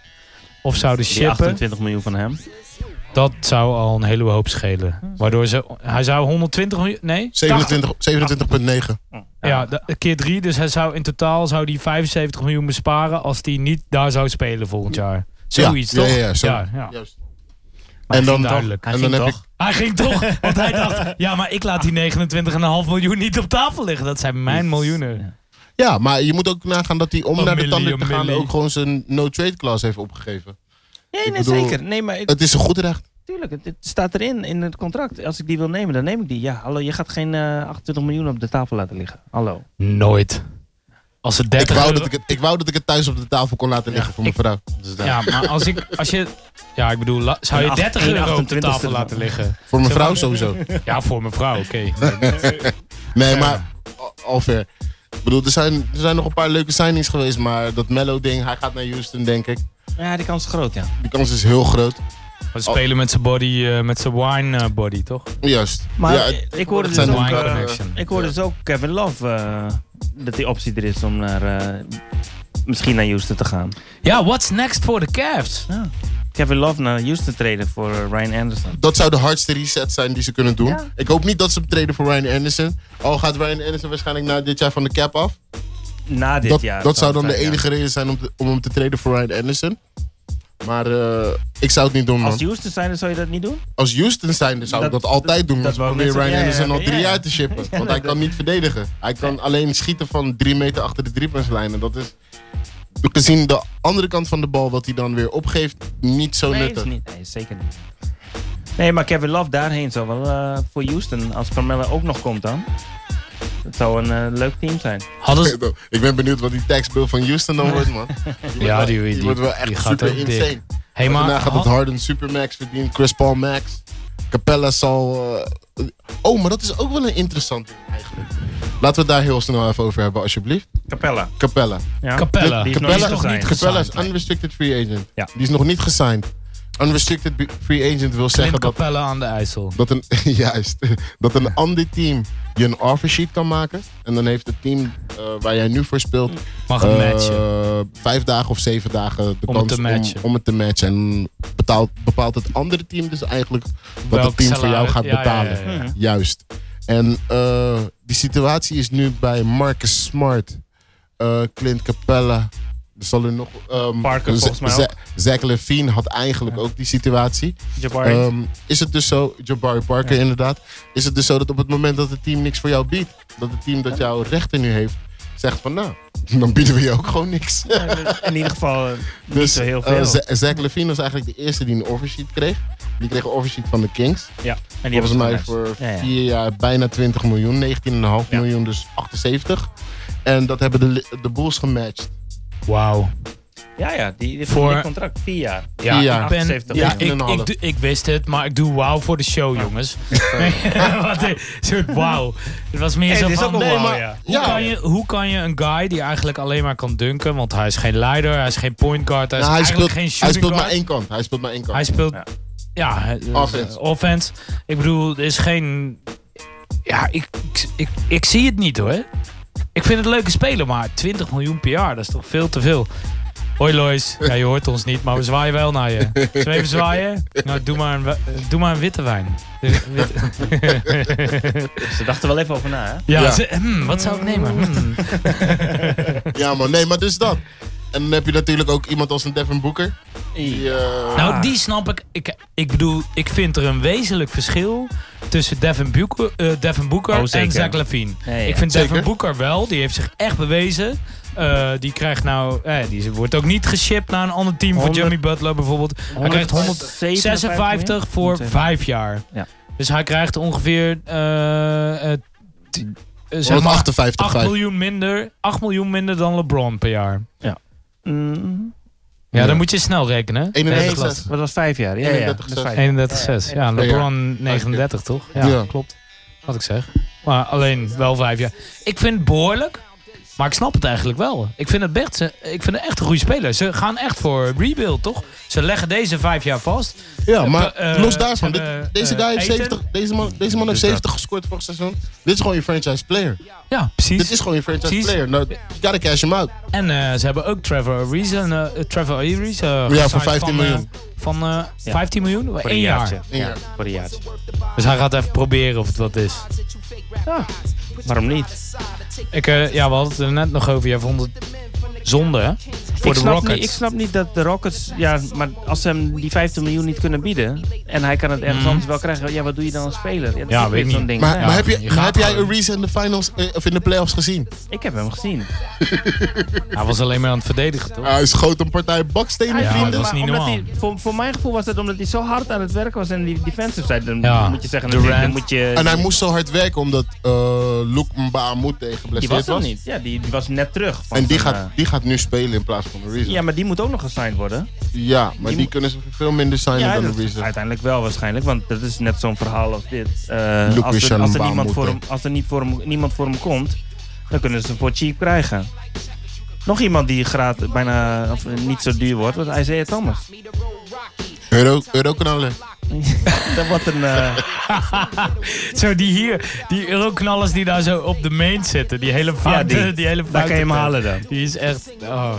S2: of zouden
S4: Die
S2: shippen,
S4: 28 miljoen van hem.
S2: dat zou al een hele hoop schelen. Waardoor ze, hij zou 120 miljoen, nee?
S3: 27 27,9.
S2: Ja, da- keer drie. Dus hij zou in totaal zou die 75 miljoen besparen als hij niet daar zou spelen volgend jaar. Zoiets,
S3: ja,
S2: toch?
S3: ja, ja, zo.
S2: ja.
S3: Juist.
S2: Ah. Maar
S3: En
S2: het ging
S3: dan-
S2: duidelijk.
S4: Hij
S3: En
S4: ging
S3: dan heb
S4: toch?
S2: Hij ging toch, want hij dacht, ja, maar ik laat die 29,5 miljoen niet op tafel liggen. Dat zijn mijn miljoenen.
S3: Ja, maar je moet ook nagaan dat hij om
S2: Een
S3: naar de
S2: millie,
S3: tanden te
S2: een
S3: gaan
S2: millie.
S3: ook gewoon zijn no-trade clause heeft opgegeven.
S4: Nee,
S3: Ik
S4: nee,
S3: bedoel-
S4: zeker. Nee, maar het,
S3: Het is een goed recht.
S4: tuurlijk, het, het staat erin in het contract. Als ik die wil nemen, dan neem ik die. Ja, hallo, je gaat geen eh, 28 miljoen op de tafel laten liggen. Hallo.
S2: Nooit. Als het
S3: Ik
S2: 30
S3: wou,
S2: euro-
S3: dat ik, het, ik wou dat ik het thuis op de tafel kon laten liggen voor mijn vrouw.
S2: Ja, maar als ik... Als je... Ja, ik bedoel, la- zou je
S4: Een
S2: 30
S4: acht-
S2: euro op de
S4: 28
S2: tafel laten liggen?
S3: Voor mijn
S2: Zo
S3: vrouw
S2: van-
S3: sowieso.
S2: Ja, voor mijn vrouw, oké.
S3: Nee, maar al- al fair. Ik bedoel, er zijn, er zijn nog een paar leuke signings geweest, maar dat Mello-ding, hij gaat naar Houston, denk ik.
S4: Ja, die kans is groot, ja.
S3: Die kans is heel groot.
S2: We spelen met zijn body, eh, met zijn wine eh, body, toch?
S3: Juist.
S4: Maar
S3: Ja,
S4: eh, ik hoorde
S3: het
S4: dus
S3: zijn
S4: ook...
S2: wine
S4: eh,
S2: connection.
S4: ik hoorde
S3: Ja.
S4: dus ook Kevin Love eh, dat die optie er is om naar... eh, misschien naar Houston te gaan.
S2: Ja, what's next for the Cavs?
S4: Kevin Love naar Houston treden voor eh, Ryan Anderson.
S3: dat zou de hardste reset zijn die ze kunnen doen.
S4: Ja.
S3: Ik hoop niet dat ze hem treden voor Ryan Anderson. Al gaat Ryan Anderson waarschijnlijk na dit jaar van de cap af.
S4: Na dit
S3: dat,
S4: jaar.
S3: dat zou dan
S4: het
S3: de
S4: zijn, ja.
S3: enige reden zijn om, te- om hem te treden voor Ryan Anderson. Maar eh, ik zou het niet doen, man.
S4: Als Houston zijn, dan zou je dat niet doen?
S3: Als Houston zijnde zou ik
S4: Dat-
S3: dat, altijd doen.
S4: dat
S3: Dat ze
S4: wou ik
S3: proberen
S4: net
S3: Ryan
S4: zeggen. Ja, ja,
S3: Anderson al
S4: ja,
S3: drie
S4: ja.
S3: jaar te shippen. Want hij
S4: dat-
S3: kan niet verdedigen. Hij kan alleen schieten van drie meter achter de driepuntslijn. En dat is, gezien de andere kant van de bal, wat hij dan weer opgeeft, niet zo
S4: nee,
S3: nuttig.
S4: is niet, nee, zeker niet. Nee, maar Kevin Love daarheen zou wel eh, voor Houston, als Carmella ook nog komt dan. Dat zou een eh, leuk team zijn.
S2: Hadden ze...
S3: Ik ben benieuwd wat die taxbill van Houston dan wordt, man. Die wordt
S2: Ja,
S3: wel-
S2: die- die-
S3: wordt wel
S2: die
S3: echt
S2: gaat
S3: super
S2: ook dik.
S3: insane.
S2: Hey, maar...
S3: Daarna gaat het
S2: had-
S3: Harden Supermax verdienen, Chris Paul Max. Capella zal. eh, oh, maar dat is ook wel een interessant ding eigenlijk. Laten we het daar heel snel even over hebben, alsjeblieft.
S4: Capella.
S3: Capella.
S4: Ja.
S2: Capella.
S4: Die is nog
S3: Capella is
S4: niet gesigned.
S2: nog niet
S3: Capella is
S2: Gesigned, nee.
S3: unrestricted free agent.
S4: Ja.
S3: Die is nog niet gesigned. Unrestricted be- free agent wil
S2: Klim
S3: zeggen dat,
S2: Capella aan de IJssel.
S3: dat, een, juist, dat een ander team je een offersheet kan maken. En dan heeft het team eh, waar jij nu voor speelt
S2: Mag een
S3: eh,
S2: matchen.
S3: vijf dagen of zeven dagen de
S2: Om het
S3: kans
S2: te matchen.
S3: Om, om het te matchen. En betaalt, bepaalt het andere team dus eigenlijk wat
S2: Welk
S3: het team voor jou
S2: salaris-
S3: gaat
S2: ja, ja,
S3: betalen.
S2: ja,
S4: Mhm.
S2: ja, ja.
S3: Juist. En eh, die situatie is nu bij Marcus Smart, eh, Clint Capella. Er zal er nog. ehm,
S4: Parker
S3: Z-
S4: volgens mij
S3: Z-
S4: ook.
S3: Zach Levine had eigenlijk ook die situatie.
S4: Jabari.
S3: Ehm, is het dus zo, Jabari Parker inderdaad, is het dus zo dat op het moment dat het team niks voor jou biedt, dat het team dat jouw rechten nu heeft, zegt van nou, dan bieden we je ook gewoon niks.
S4: in ieder geval eh, niet
S3: Dus
S4: zo heel
S3: eh,
S4: veel.
S3: Z- Zach Levine was eigenlijk de eerste die een oversheet kreeg. Die kreeg een oversheet van de Kings.
S4: ja. En die
S3: Volgens
S4: hebben
S3: mij
S4: ze
S3: voor
S4: geluisterd. Ja, ja.
S3: vier jaar bijna 20 miljoen, 19,5
S4: Ja.
S3: miljoen, dus 78. En dat hebben de, li- de Bulls gematcht.
S2: Wauw.
S4: Ja, ja, die, die
S2: Voor-
S4: voor... contract vier jaar.
S2: Ja,
S3: Vier jaar.
S2: ik ben...
S4: 78.
S2: Ja,
S3: Ja,
S2: ik, ik,
S3: 1,5.
S2: doe- ik wist het, maar ik doe wauw voor de show, jongens. Wat een soort wauw. Het was meer
S4: Hey,
S2: zo
S4: dit is
S2: van...
S4: ook een
S2: nee,
S4: wauw,
S2: maar
S4: ja.
S2: Hoe,
S3: Ja.
S2: Kan je, hoe kan je een guy die eigenlijk alleen maar kan dunken... want hij is geen leider, hij is geen point guard... hij is
S3: Nou, hij,
S2: eigenlijk
S3: speelt,
S2: geen
S3: hij
S2: shooting
S3: speelt maar
S2: guard.
S3: één kant. Hij speelt maar één kant.
S2: Hij speelt...
S4: Ja.
S2: Ja, eh,
S3: Offense.
S2: offense. Ik bedoel, er is geen... Ja, ik, ik, ik, ik zie het niet hoor. Ik vind het een leuke speler, maar 20 miljoen per jaar, dat is toch veel te veel. Hoi Lois. Ja, je hoort ons niet, maar we zwaaien wel naar je. Zullen we even zwaaien? Nou, doe maar een, wa- eh, doe maar een witte wijn. De- witte-
S4: Ze dachten wel even over na, hè?
S2: ja,
S3: Ja.
S2: ze- hmm, wat zou ik nemen? Hmm.
S3: Ja, man. Nee, maar dus dat. En dan heb je natuurlijk ook iemand als een Devin Booker. Die,
S4: Ah.
S3: eh,
S2: Nou, die snap ik. ik. Ik bedoel, ik vind er een wezenlijk verschil tussen Devin Booker, eh, Devin Booker
S4: Oh,
S2: en
S4: zeker.
S2: Zach Levine.
S4: Ja, ja.
S2: Ik vind
S3: Zeker.
S2: Devin Booker wel, die heeft zich echt bewezen. Eh, die krijgt nou, eh, die wordt ook niet geshipped naar een ander team voor
S4: 100
S2: Jimmy Butler bijvoorbeeld. Hij krijgt 156 voor
S4: Ja.
S2: vijf jaar.
S4: Ja.
S2: Dus hij krijgt ongeveer eh, eh, t- eh, zeg maar
S3: 158,
S2: 8
S3: vijf.
S2: miljoen, minder, 8 miljoen minder dan LeBron per jaar.
S4: Mm,
S2: Ja,
S3: Ja.
S2: dan moet je snel rekenen.
S3: 31
S4: nee,
S3: zes.
S4: dat was vijf jaar. Ja, ja,
S3: 31
S4: dat is
S3: zes.
S2: 31-6.
S4: vijf.
S2: Ja, LeBron 39, toch? Ja,
S3: Ja.
S2: klopt. Wat ik zeg. Maar alleen wel vijf jaar. Ik vind het behoorlijk. Maar ik snap het eigenlijk wel. Ik vind het, best, ik vind het echt een goede speler. Ze gaan echt voor rebuild, toch? Ze leggen deze vijf jaar vast.
S3: Ja, maar
S2: Eh,
S3: los daarvan.
S2: eh,
S3: dit- deze
S2: eh,
S3: guy heeft
S2: Ayton.
S3: 70, deze man, deze man heeft 70 gescoord vorig seizoen. Dit is gewoon je franchise player.
S2: Ja, precies.
S3: Dit is gewoon je franchise
S2: Precies.
S3: player. Nou, you gotta cash him out.
S2: En eh, ze hebben ook Trevor Ariza. eh, eh, Trevor Ariza eh,
S3: voor
S2: gesigned
S3: 15
S2: van,
S3: miljoen.
S2: eh, van eh,
S4: Ja.
S2: 15 miljoen?
S4: Voor
S2: Eén
S4: een
S2: jaar.
S4: jaartje.
S3: Eén
S4: Ja,
S3: jaar.
S4: voor een jaartje.
S2: Dus hij gaat even proberen of het wat is.
S4: Waarom niet?
S2: Ik, eh, ja, we hadden het er net nog over. Jij vond het zonde, hè? Voor
S4: ik,
S2: de
S4: snap
S2: Rockets.
S4: Niet, ik snap niet dat de Rockets... Ja, maar als ze hem die 15 miljoen niet kunnen bieden... en hij kan het ergens
S2: Mhm.
S4: anders wel krijgen... ja, wat doe je dan als speler? dat
S2: Ja,
S4: is
S2: weet
S4: ook weer
S2: ik
S4: zo'n
S2: niet.
S4: ding.
S3: Maar,
S4: Ja.
S3: maar heb, je,
S2: je
S3: maar
S2: gaat
S3: heb jij
S2: gewoon-
S3: Ariza in de finals eh, of in de playoffs gezien?
S4: Ik heb hem gezien.
S2: Hij was alleen maar aan het verdedigen, toch?
S3: Hij schoot een partij bakstenen,
S2: Ja,
S3: vrienden.
S2: dat is
S4: Maar
S2: niet
S4: omdat
S2: normaal.
S4: hij- voor, voor mijn gevoel was dat omdat hij zo hard aan het werken was en die defensive side. Dan
S2: Ja.
S4: moet je zeggen,
S2: Durant.
S4: natuurlijk, dan moet je...
S3: En hij moest zo hard werken omdat Luke Luke Mbamut tegen
S4: die
S3: geblesseerd
S4: was er
S3: was.
S4: niet. Ja, die, die was net terug. van
S3: En die
S4: zijn,
S3: gaat,
S4: eh,
S3: die gaat nu spelen in plaats van Ariza.
S4: ja,
S3: Ja,
S4: maar die moet ook nog gesigned worden.
S3: maar
S4: die
S3: die,
S4: moet-
S3: kunnen ze veel minder zijn
S4: ja,
S3: dan
S4: dat-
S3: Ariza.
S4: uiteindelijk wel waarschijnlijk, want dat is net zo'n verhaal als dit. Eh,
S3: Luke
S4: als er,
S3: Richard
S4: als er,
S3: een baan
S4: niemand,
S3: moet
S4: voor hem,
S3: hebben.
S4: als er niet voor hem, niemand voor hem komt, dan kunnen ze hem voor cheap krijgen. Nog iemand die graad bijna of, eh, niet zo duur wordt, was Isaiah Thomas.
S3: Euro, Euroknallen.
S4: dat wordt een... eh,
S2: Zo, die hier, die euroknallers die daar zo op de main zitten. Die hele foute,
S4: die.
S2: die. hele
S4: daar kan je hem
S2: foute-
S4: halen dan.
S2: Die is echt, oh,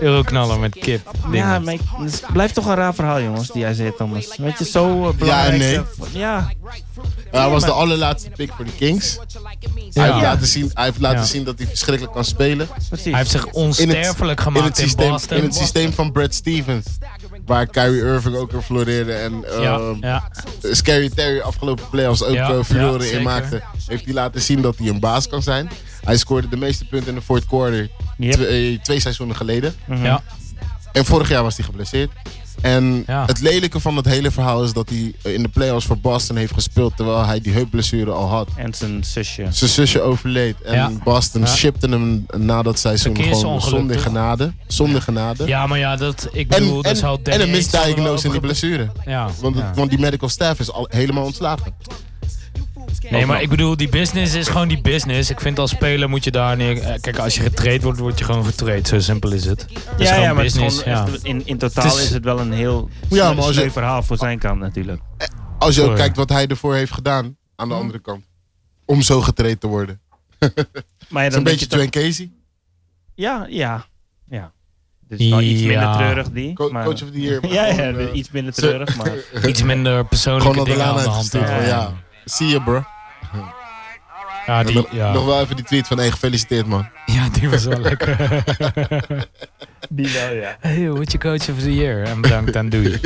S2: euroknaller met kip. dingen.
S4: Ja, maar ik- het blijft toch een raar verhaal, jongens, die Isaiah Thomas. Weet je, zo eh, belangrijk.
S3: nee.
S4: eh, ja,
S3: Hij was de allerlaatste pick voor de Kings. Hij, heeft laten zien, hij heeft laten
S2: Ja.
S3: zien dat hij verschrikkelijk kan spelen.
S4: precies.
S2: Hij heeft zich onsterfelijk
S3: in
S2: gemaakt in,
S3: het, systeem,
S2: Boston.
S3: in het systeem van Brad Stevens. Waar Kyrie Irving ook in floreerde. En
S2: Ja,
S3: ehm,
S2: ja.
S3: Scary Terry afgelopen playoffs ook
S2: Ja,
S3: eh,
S2: ja,
S3: furoren
S2: zeker.
S3: in maakte. Heeft hij laten zien dat hij een baas kan zijn. Hij scoorde de meeste punten in de fourth quarter
S4: Yep.
S3: twee, eh, twee seizoenen geleden.
S4: Mhm.
S2: ja.
S3: En vorig jaar was hij geblesseerd. En
S2: Ja.
S3: het lelijke van het hele verhaal is dat hij eh, in de playoffs voor Boston heeft gespeeld. Terwijl hij die heupblessure al had.
S4: En zijn zusje.
S3: Zijn zusje overleed en
S2: Ja.
S3: Boston
S2: Ja.
S3: shipte hem na dat seizoen gewoon
S2: Verkeersongeluk,
S3: zonder
S2: toch?
S3: genade. Zonder genade.
S2: ja, maar ja, dat, ik bedoel,
S3: En,
S2: dat zal
S3: en, en een misdiagnose in die blessure.
S2: Ja,
S3: Want,
S2: ja.
S3: het- want die medical staff is al helemaal ontslagen.
S2: Nee, maar ik bedoel, die business is gewoon die business. Ik vind als speler moet je daar neer... eh, Kijk, als je getraind wordt, word je gewoon getraind. Zo simpel is het. Het is
S4: ja,
S2: gewoon
S4: ja, maar het is
S2: business.
S4: gewoon echt-
S2: ja.
S4: in, in totaal
S2: Het is-
S4: is, het wel een heel
S3: Ja,
S4: ja,
S3: maar als je-
S4: verhaal voor zijn kant natuurlijk.
S3: Als je ook
S2: Sorry.
S3: kijkt wat hij ervoor heeft gedaan aan
S2: Hm.
S3: de andere kant. Om zo getraind te worden.
S4: Maar ja,
S3: is een
S4: dan denk
S3: beetje
S4: je toch-
S3: Dwayne Casey.
S4: Ja, ja. ja. Dus wel iets
S2: Ja.
S4: minder treurig die.
S3: Co-
S4: maar-
S3: coach of the year. maar
S4: ja, ja,
S3: gewoon, eh,
S4: iets minder
S3: ze-
S4: treurig, maar...
S2: Iets minder
S3: Gewoon
S2: persoonlijke
S3: naar de
S2: dingen
S3: laan
S2: aan de hand.
S3: uitgestuurd.
S2: houden.
S3: van,
S4: ja.
S3: Ja. Zie je bro.
S2: Ja, die,
S3: nog,
S2: ja.
S3: nog wel even die tweet van hey, gefeliciteerd man.
S2: ja, die was wel lekker.
S4: Die wel, ja.
S2: Hey, word je coach of the year? En bedankt en doei.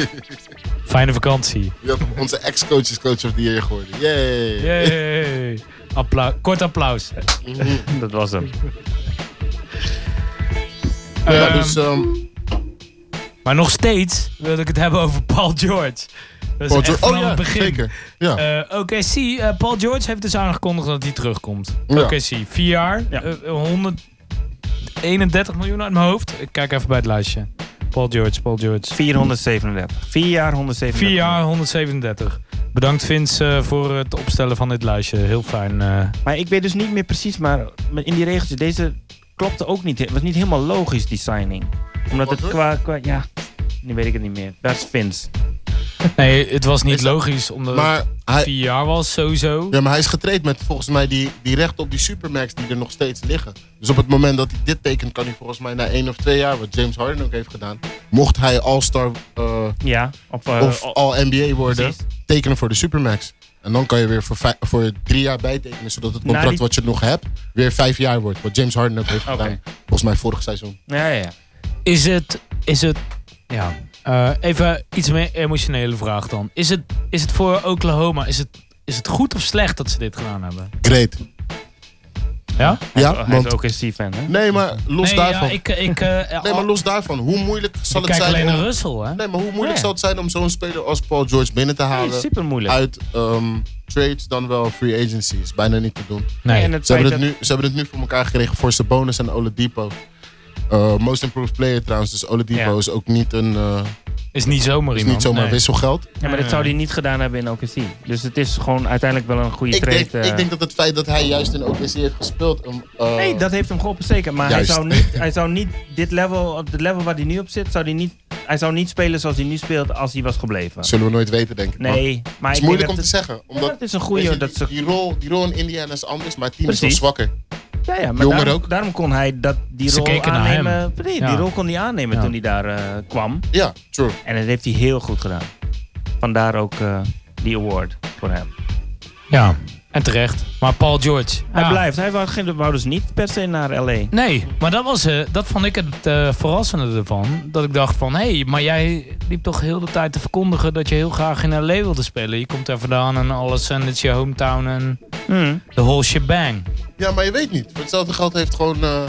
S2: Fijne vakantie.
S3: Je had onze ex-coach is coach of the year geworden. Yay.
S2: Yay. Applau Kort applaus.
S4: Dat was hem.
S3: Ja,
S2: Ehm,
S3: dus, ehm,
S2: maar nog steeds wil ik het hebben over Paul George. Dat is
S3: Paul
S2: echt
S3: George-
S2: vanaf
S3: oh ja,
S2: het begin.
S3: zeker. Ja.
S2: Eh, Oké, zie, eh, Paul George heeft dus aangekondigd dat hij terugkomt.
S3: Ja.
S2: Oké, zie, vier jaar,
S4: Ja.
S2: eh, 131 miljoen uit mijn hoofd. Ik kijk even bij het lijstje. Paul George, Paul George.
S4: 437. 4 jaar 137.
S2: Vier jaar, 137. Bedankt Vince eh, voor het opstellen van dit lijstje. Heel fijn. eh.
S4: Maar ik weet dus niet meer precies, maar in die regeltjes, deze klopte ook niet. Het was niet helemaal logisch, die signing. Omdat het
S3: Wat, dus?
S4: qua, qua ja, nu weet ik het niet meer. Dat is Vince.
S2: Nee, het was niet
S3: Is dat-
S2: logisch omdat
S3: maar,
S2: het
S3: hij,
S2: vier jaar was sowieso.
S3: ja, maar hij is getraind met volgens mij die, die recht op die supermax die er nog steeds liggen. Dus op het moment dat hij dit tekent, kan hij volgens mij na één of twee jaar, wat James Harden ook heeft gedaan, mocht hij All-Star eh,
S4: Ja, op, eh,
S3: of
S2: oh.
S4: op-
S3: All-NBA worden,
S4: precies.
S3: tekenen voor de supermax. En dan kan je weer voor, vij- voor drie jaar bijtekenen, zodat het
S4: Na
S3: contract
S4: die-
S3: wat je nog hebt, weer vijf jaar wordt. Wat James Harden ook heeft
S4: Oké.
S3: gedaan, volgens mij vorig seizoen.
S4: Ja, ja, ja.
S2: Is het, is het Ja. Eh, even iets meer emotionele vraag dan. Is het, is het voor Oklahoma, is het, is het goed of slecht dat ze dit gedaan hebben?
S3: Great.
S2: Ja?
S3: Ja,
S4: Hij is
S3: want...
S4: ook een Steve-fan, hè?
S3: Nee, maar los
S2: nee,
S3: daarvan.
S2: ja, ik, ik, eh,
S3: Nee, maar los daarvan. Hoe moeilijk zal
S2: ik
S3: het
S2: kijk alleen
S3: zijn
S2: naar
S3: om...
S2: Russell, hè?
S3: Nee, maar hoe moeilijk
S2: Ja.
S3: zal het zijn om zo'n speler als Paul George binnen te
S4: Nee,
S3: halen
S4: super moeilijk.
S3: uit ehm, trades dan wel free agency? Is bijna niet te doen.
S2: Nee.
S4: En het
S3: Ah, Ze
S4: feit
S3: hebben, het
S4: dat,
S3: nu, ze hebben het nu voor elkaar gekregen voor Sabonis en Oladipo. Eh, most improved player trouwens, dus Oladipo
S4: Ja.
S3: is ook niet, een, eh,
S2: Is niet zomaar
S3: is
S2: iemand.
S3: niet zomaar
S2: nee.
S3: wisselgeld.
S4: ja, maar dit zou hij niet gedaan hebben in OKC. Dus het is gewoon uiteindelijk wel een goede
S3: Ik
S4: trade.
S3: denk,
S4: eh.
S3: ik denk dat het feit dat hij juist in OKC heeft gespeeld... om, eh,
S4: Nee, dat heeft hem geholpen zeker. Maar hij
S3: Juist.
S4: zou, niet, hij zou niet dit level, op het level waar hij nu op zit, zou hij niet, hij zou niet spelen zoals hij nu speelt als hij was gebleven.
S3: zullen we nooit weten, denk ik. Maar
S4: Nee, maar
S3: Oh. het
S4: ik
S3: is moeilijk om
S4: denk
S3: te
S4: dat
S3: zeggen.
S4: het,
S3: Omdat,
S4: ja, het is een
S3: weet
S4: goede.
S3: je,
S4: Dat ze,
S3: die, die rol, die rol in Indiana is anders, maar het team is wel
S4: Precies.
S3: zwakker.
S4: ja, ja, maar
S3: jonger
S4: daarom,
S3: ook.
S4: daarom kon hij dat, die
S2: Ze
S4: rol
S2: keken naar hem.
S4: aannemen. Nee,
S2: Ja.
S4: Die rol kon hij aannemen
S2: Ja.
S4: toen hij daar eh, kwam.
S3: Ja, true.
S4: En dat heeft hij heel goed gedaan. Vandaar ook eh, die award voor hem.
S2: Ja, en terecht. Maar Paul George.
S4: Hij
S2: ja.
S4: blijft. Hij wou, geen- wou dus niet per se naar LA.
S2: Nee, maar dat, was, eh, dat vond ik het eh, verrassende ervan. Dat ik dacht van, hé, hey, maar jij liep toch heel de tijd te verkondigen dat je heel graag in L.A. wilde spelen. Je komt daar vandaan en alles en het is je hometown en
S4: Hmm.
S2: de whole shebang.
S3: Ja, maar je weet niet. Voor hetzelfde geld heeft gewoon... eh,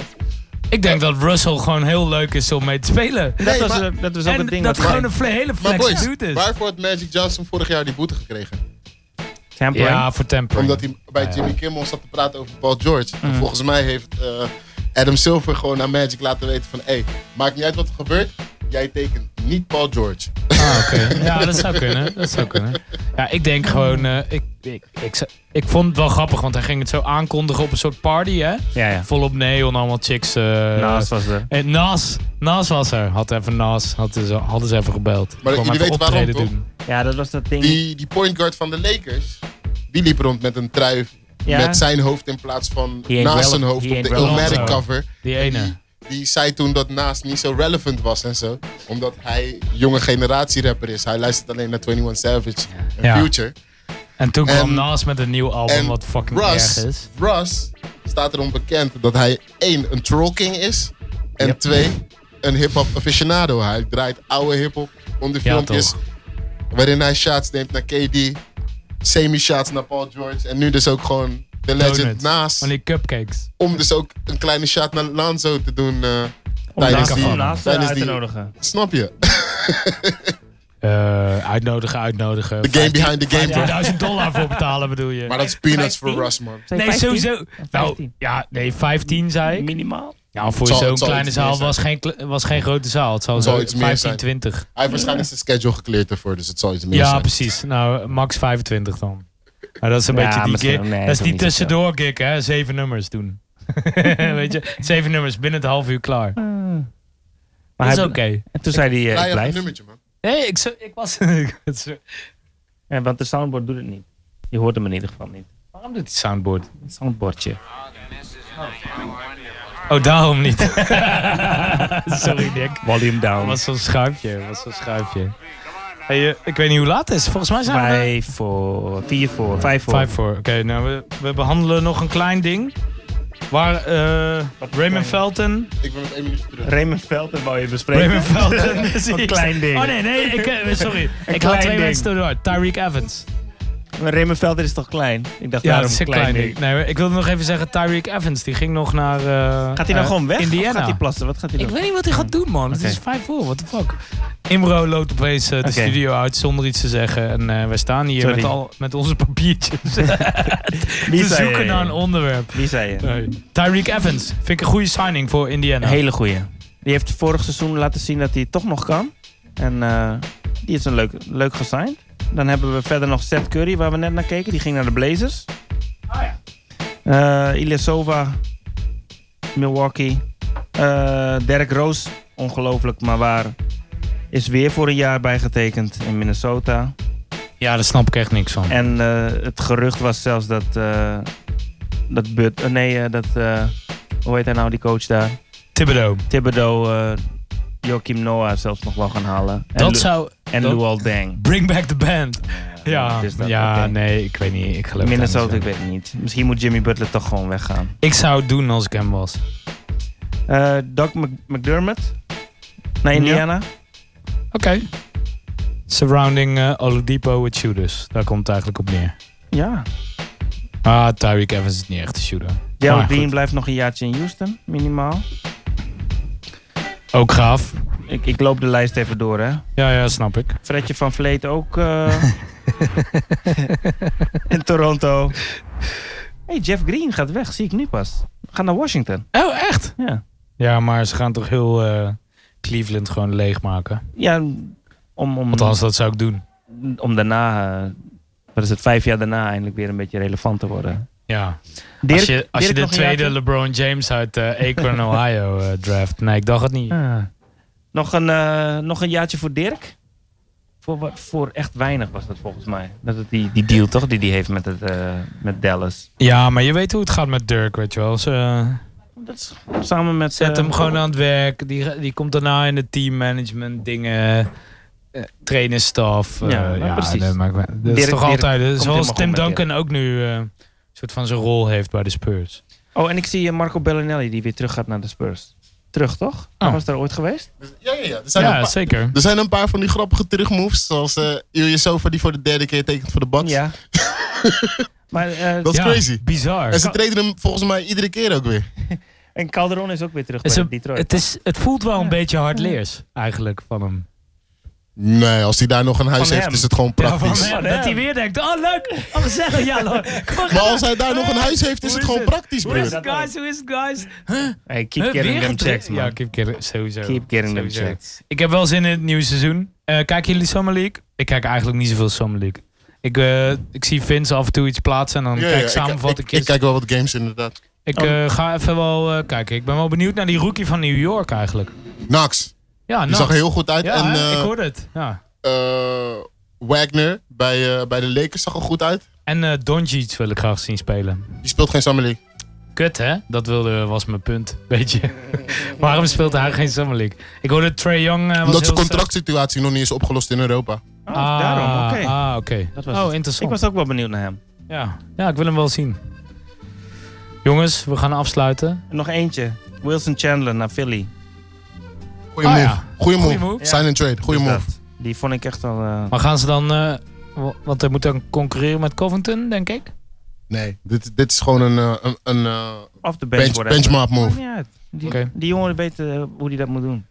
S2: Ik denk dat Russell gewoon heel leuk is om mee te spelen.
S4: Dat,
S3: Nee,
S4: was,
S3: maar-
S4: eh, dat was ook
S2: En
S4: het ding.
S2: dat
S4: wat
S2: gewoon een fle- hele
S3: maar
S2: flex
S3: boys,
S2: dude is.
S3: waarvoor had Magic Johnson vorig jaar die boete gekregen?
S4: Tampering.
S2: Oh, Ja, voor tempering.
S3: Omdat hij bij
S2: Ja.
S3: Jimmy Kimmel zat te praten over Paul George.
S4: Mm.
S3: En Volgens mij heeft eh, Adam Silver gewoon aan Magic laten weten van... Hey, maakt niet uit wat er gebeurt, jij tekent niet Paul George.
S2: Ah, oké. Ja, dat zou kunnen. Dat zou kunnen. Ja, ik denk gewoon... eh, ik, ik, ik, zou- ik vond het wel grappig, want hij ging het zo aankondigen op een soort party, hè?
S4: ja, ja.
S2: Volop neon, allemaal chicks. eh
S4: Naast was er.
S2: Eh, Nas. Nas was er. Had even Nas. Had ze, hadden ze even gebeld.
S3: Maar
S2: Kwam
S3: jullie
S2: even
S3: weten waarom,
S2: optreden
S3: toch?
S2: doen.
S4: Ja, dat was dat ding.
S3: Die, die point guard van de Lakers, die liep rond met een trui...
S4: Ja.
S3: Met zijn hoofd in plaats van
S4: ain't
S3: naast
S4: rele-
S3: zijn hoofd
S4: he
S3: op
S4: ain't
S3: de
S4: relevant.
S3: Illmatic cover.
S2: Die ene.
S3: Die, die zei toen dat naast niet zo relevant was en zo. Omdat hij jonge generatie rapper is. Hij luistert alleen naar 21 Savage en
S2: Ja.
S3: Future.
S2: En toen kwam
S3: En-
S2: Nas met een nieuw album,
S3: en
S2: wat fucking
S3: Russ,
S2: erg is.
S3: Russ staat erom bekend dat hij één, een troll king is. En twee, een hip-hop aficionado. Hij draait oude hip-hop onder
S2: Ja,
S3: filmpjes.
S2: toch.
S3: Waarin hij shots neemt naar KD. Semi-shots naar Paul George. En nu dus ook gewoon de legend
S2: Donuts.
S3: naast.
S2: Van die cupcakes.
S3: Om dus ook een kleine shot naar Lanzo te doen. eh,
S4: om
S3: tijdens
S4: naast,
S2: die-
S4: om naast eh,
S3: tijdens
S4: uit te
S3: die-
S4: nodigen.
S3: Snap je?
S2: Eh, uitnodigen, uitnodigen.
S3: The game behind the game. bro.
S2: 1000 dollar voor betalen bedoel je?
S3: Maar dat is peanuts voor
S4: 15?
S3: Russ, man.
S2: nee,
S4: 15?
S2: sowieso. Nou,
S4: 15.
S2: ja, nee, 15 zei ik.
S4: Minimaal.
S2: Ja, voor
S3: zal-
S2: zo'n
S3: het zal
S2: kleine
S3: iets meer
S2: zaal
S3: zijn.
S2: was geen, kle- was geen grote zaal. Het zal
S3: zal
S2: zo
S3: iets meer
S2: 15,
S3: zijn.
S2: 20.
S3: Hij heeft waarschijnlijk zijn schedule gekleerd ervoor, dus het zal iets meer
S2: Ja,
S3: zijn.
S2: precies. Nou, max 25 dan. Maar dat is een
S4: Ja,
S2: beetje die
S4: misschien-
S2: gig.
S4: nee,
S2: dat is
S4: toch
S2: die
S4: niet zo snel.
S2: tussendoor gig, hè? Zeven nummers doen. Weet je, zeven nummers binnen het half uur klaar. dat
S4: Maar
S2: is
S4: Ah. hij,
S2: oké.
S4: En toen zei hij, eh,
S3: Draai
S4: ik
S3: even een
S4: blijf.
S3: nummertje, man.
S2: Nee, ik, zo- ik was. het zo-
S4: Ja, want de soundboard doet het niet. Je hoort hem in ieder geval niet.
S2: Waarom doet die soundboard?
S4: Het soundboardje.
S2: Oh, daarom niet. Sorry, Nick.
S4: Volume
S2: Dat
S4: down.
S2: was zo'n schuifje. dat was zo'n schuifje. Hey, eh, ik weet niet hoe laat het is. Volgens mij zijn we. er-
S4: vijf voor, vier voor, vijf voor.
S2: Vijf voor. Oké, nou, we, we behandelen nog een klein ding. Waar eh, Raymond Felton.
S3: Ik ben met één minuutje terug.
S4: Raymond Velden wou je bespreken.
S2: Raymond Felton. precies.
S4: Een klein ding.
S2: Oh nee, nee, ik, eh, sorry. ik had
S4: klein
S2: twee
S4: ding.
S2: mensen door. Tyreek Evans.
S4: Maar Raymond Velden is toch klein? Ik dacht
S2: Ja,
S4: daarom
S2: dat is een klein ding. Nee, maar ik wilde nog even zeggen, Tyreek Evans, die ging nog naar eh,
S4: Gaat hij nou
S2: eh,
S4: gewoon weg?
S2: Indiana.
S4: Of gaat hij plassen? Wat gaat hij
S2: ik
S4: doen?
S2: weet niet wat hij gaat doen, man. Het
S4: Oké.
S2: is 5 voor, what the fuck. Imro loopt opeens eh, de
S4: Oké.
S2: studio uit zonder iets te zeggen. En eh wij staan hier
S4: Sorry.
S2: met, al, met onze papiertjes
S4: Wie
S2: te
S4: zei
S2: zoeken
S4: je?
S2: naar een Eh, onderwerp.
S4: Wie zei je?
S2: Nee. Tyreek Evans, vind ik een goede signing voor Indiana.
S4: Een hele goeie. Die heeft vorig seizoen laten zien dat hij het toch nog kan. En eh, die is een leuk, leuk gesigned. Dan hebben we verder nog Seth Curry, waar we net naar keken. Die ging naar de Blazers. Oh ja. Ilyasova, Milwaukee. Eh Derek Roos, ongelooflijk, maar waar. Is weer voor een jaar bijgetekend in Minnesota.
S2: Ja, daar snap ik echt niks van.
S4: En eh, het gerucht was zelfs dat. eh, dat But, eh, nee, eh, dat. eh, hoe heet hij nou, die coach daar?
S2: Thibodeau.
S4: Thibodeau, eh Joachim Noah zelfs nog wel gaan halen. En
S2: Dat
S4: Lu-
S2: zou...
S4: En
S2: dat-
S4: Luol Deng.
S2: Bring back the band. Ja,
S4: dus dat-
S2: ja
S4: oké.
S2: nee, ik weet niet. Ik geloof daar
S4: Minnesota,
S2: niet
S4: ik
S2: zo.
S4: weet het niet. Misschien moet Jimmy Butler toch gewoon weggaan.
S2: Ik zou het doen als ik hem was.
S4: Eh Doc Mc- McDermott naar Indiana.
S2: Surrounding eh, Oladipo with shooters. Daar komt het eigenlijk op neer.
S4: Ja.
S2: Ah, Tyreek Evans is niet echt een shooter. Maar
S4: Jalen
S2: goed.
S4: Green blijft nog een jaartje in Houston, minimaal.
S2: Ook gaaf.
S4: Ik, ik loop de lijst even door, hè.
S2: Ja, ja, snap ik.
S4: Fredje van Vleet ook eh, in Toronto. hey, Jeff Green gaat weg, zie ik nu pas. Gaat naar Washington.
S2: Oh, echt?
S4: Ja,
S2: Ja, maar ze gaan toch heel eh, Cleveland gewoon leegmaken.
S4: ja om, om,
S2: Althans, dat zou ik doen.
S4: om daarna, eh, wat is het, vijf jaar daarna eindelijk weer een beetje relevant te worden.
S2: Ja.
S4: Dirk-
S2: als je, als je
S4: Dirk
S2: de
S4: nog een
S2: tweede
S4: jaartje?
S2: LeBron James uit eh Akron, Ohio eh, draft. Nee, ik dacht het niet.
S4: Ah. Nog, een, eh, nog een jaartje voor Dirk? Voor, wa- voor echt weinig was dat volgens mij. Dat het die, die deal toch die die heeft met, het, eh, met Dallas.
S2: Ja, maar je weet hoe het gaat met Dirk, weet je wel. Ze, eh,
S4: Dat is samen met...
S2: zet
S4: eh,
S2: hem gewoon aan het werk. Die, die komt daarna in de teammanagement dingen. eh trainerstaf. eh,
S4: Ja,
S2: ja,
S4: nou, precies.
S2: Dat, maakt, me- dat is
S4: Dirk-
S2: toch
S4: Dirk
S2: altijd... eh,
S4: komt
S2: zoals
S4: helemaal
S2: Tim
S4: goed met
S2: Duncan ook nu eh, een soort van zijn rol heeft bij de Spurs.
S4: Oh, en ik zie eh, Marco Bellinelli die weer terug gaat naar de Spurs. Terug, toch? Hij
S2: Oh.
S4: was daar ooit geweest?
S3: Ja, ja, ja. Er zijn, een,
S2: Ja,
S3: paar,
S2: zeker.
S3: er zijn een paar van die grappige terugmoves. Zoals eh Ilya Sofa die voor de derde keer tekent voor de Bucks.
S4: Ja. maar, eh,
S3: Dat is
S2: Ja,
S3: crazy.
S2: Bizar.
S3: En ze treden hem volgens mij iedere keer ook weer.
S4: en Calderon is ook weer terug
S2: Het, is
S4: bij
S2: een-
S4: Detroit.
S2: het, is, het voelt wel een
S4: Ja.
S2: beetje hardleers eigenlijk van hem.
S3: Nee, als hij daar nog een huis
S4: Van
S3: heeft,
S4: hem.
S3: is het gewoon
S2: Ja,
S3: praktisch.
S2: van hem,
S4: Van
S2: dat hij
S4: hem.
S2: weer denkt, oh leuk, oh gezellig, ja lo- Kom
S3: maar als hij daar nog een huis heeft, is
S2: Hoe
S3: het
S2: is
S3: gewoon
S2: het?
S3: praktisch,
S2: Hoe is
S3: broer.
S2: het guys, hoe is het guys? Huh?
S4: Hey, keep
S2: Huh,
S4: getting
S2: weer
S4: them
S2: getraind?
S4: checks, man.
S2: Ja, keep getting, sowieso.
S4: keep getting them
S2: Sowieso.
S4: checks.
S2: Ik heb wel zin in het nieuwe seizoen. Eh, kijken jullie Summer League? Ik kijk eigenlijk niet zoveel Summer League. Ik, eh, ik zie Vince af en toe iets plaatsen en dan
S3: Ja, ja,
S2: kijk ik
S3: ik- ik,
S2: samenvattingjes.
S3: ik
S2: Ik, ik,
S3: kijk wel wat games inderdaad.
S4: Oh.
S2: eh, ga even wel eh, kijken. Ik ben wel benieuwd naar die rookie van New York eigenlijk.
S3: Nax.
S2: Ja,
S3: Die
S2: nou,
S3: zag er heel goed uit.
S2: ja,
S3: en
S2: hè, ik
S3: eh,
S2: hoorde het. Ja.
S3: eh, Wagner bij, eh, bij de Lakers zag er goed uit.
S2: En eh Doncic wil ik graag zien spelen.
S3: Die speelt geen Summer League.
S2: Kut, hè? Dat wilde, was mijn punt, weet je. Waarom speelt hij geen Summer League? Ik hoorde Trey Young... eh, was
S3: Omdat
S2: heel
S3: zijn contractsituatie nog niet is opgelost in Europa.
S4: Oh,
S2: sterk. Ah,
S4: daarom, oké.
S2: Ah, oké.
S4: Dat was
S2: Oh,
S4: het. Ik
S2: interessant.
S4: was ook wel benieuwd naar hem.
S2: Ja. ja, ik wil hem wel zien. Jongens, we gaan afsluiten.
S4: En nog eentje. Wilson Chandler naar Philly.
S3: Goeie
S2: Ah,
S3: move.
S2: ja.
S3: Goeie move.
S2: Goeie move.
S3: Sign and trade. Goeie
S4: Dus
S3: move.
S4: dat. Die vond ik echt al... eh,
S2: Maar gaan ze dan... eh, wa- want hij moet dan concurreren met Covington, denk ik?
S3: Nee, dit, dit is gewoon een, eh, een, een eh,
S4: off the bench,
S3: bench,
S4: whatever.
S3: benchmark
S4: Maakt
S3: move.
S4: niet uit. Die,
S2: Oké.
S4: die jongen weet eh, hoe hij dat moet doen.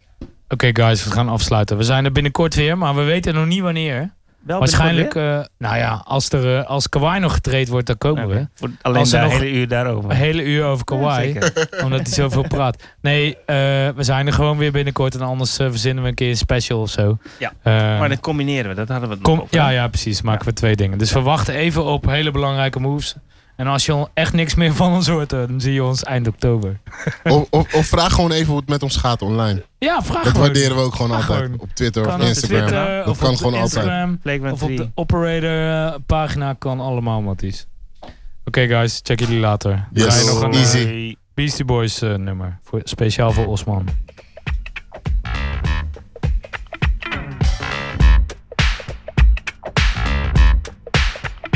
S2: Oké, guys, we gaan afsluiten. We zijn er binnenkort weer, maar we weten nog niet
S4: Oh,
S2: wanneer.
S4: Wel
S2: Waarschijnlijk,
S4: binnenkort
S2: eh, nou ja, als, er, eh, als Kawhi nog getraind wordt, dan komen
S4: weer?
S2: we.
S4: Oké, voor alleen
S2: eh, Als er
S4: daar een
S2: nog-
S4: hele uur daarover.
S2: Een hele uur over
S4: Ja,
S2: Kawhi.
S4: zeker.
S2: Omdat hij zoveel praat. Nee, eh, we zijn er gewoon weer binnenkort. En anders eh, verzinnen we een keer een special of zo.
S4: Ja,
S2: Eh,
S4: Maar dat combineren we, dat hadden we het
S2: kom,
S4: nog over.
S2: ja, ja, precies. Maken we twee dingen. Dus we wachten even op hele belangrijke moves. En als je echt niks meer van ons hoort, eh, dan zie je ons eind oktober.
S3: Of, of, of vraag gewoon even hoe het met ons gaat online.
S2: Ja, dus. vraag
S3: Dat
S2: gewoon.
S3: waarderen we ook gewoon
S2: Vraag
S3: altijd.
S2: gewoon.
S3: Op Twitter
S2: Kan
S3: of
S2: op de
S3: Instagram.
S2: Twitter,
S3: Dat
S2: of
S3: kan
S2: op de
S3: gewoon altijd.
S2: Instagram,
S4: Playground
S2: Of op
S4: 3.
S2: de operator eh, pagina kan allemaal, Matties. Oké guys, check jullie later. We
S3: Yes.
S2: draaien nog een eh,
S3: Easy.
S2: Beastie Boys eh, nummer. Voor, speciaal voor Osman.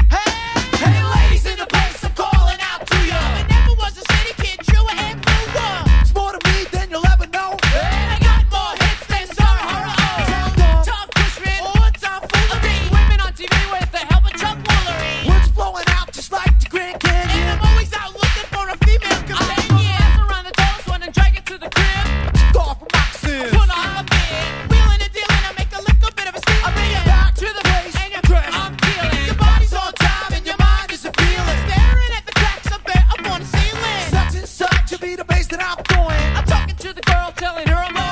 S5: Hey, ladies in the place, I'm calling out to ya. I never was a city kid, you were in
S1: It's more to me than you'll ever know.
S5: And I got more hits than Sarah Horror.
S1: Tell
S5: Tom Cushman, or Tom Fuller. Beating women on TV with the help of Chuck
S1: the
S5: Woolery.
S1: Words flowing out just like the Grand
S5: And
S1: Canyon.
S5: I'm always out looking for a female companion. around the toes, wanna drag it to the crib.
S1: Star from Roxanne.
S5: Pull all up in. Wheeling and dealing, I make a little bit of a steal. I bring it back to the face, and you're dressed. I'm feeling. Your body's on time, and your mind is appealing. Staring at the cracks up there, up on the ceiling.
S1: Such and such to be the bass that I'm throwing.
S5: I'm talking to the girl, telling her I'm Oh.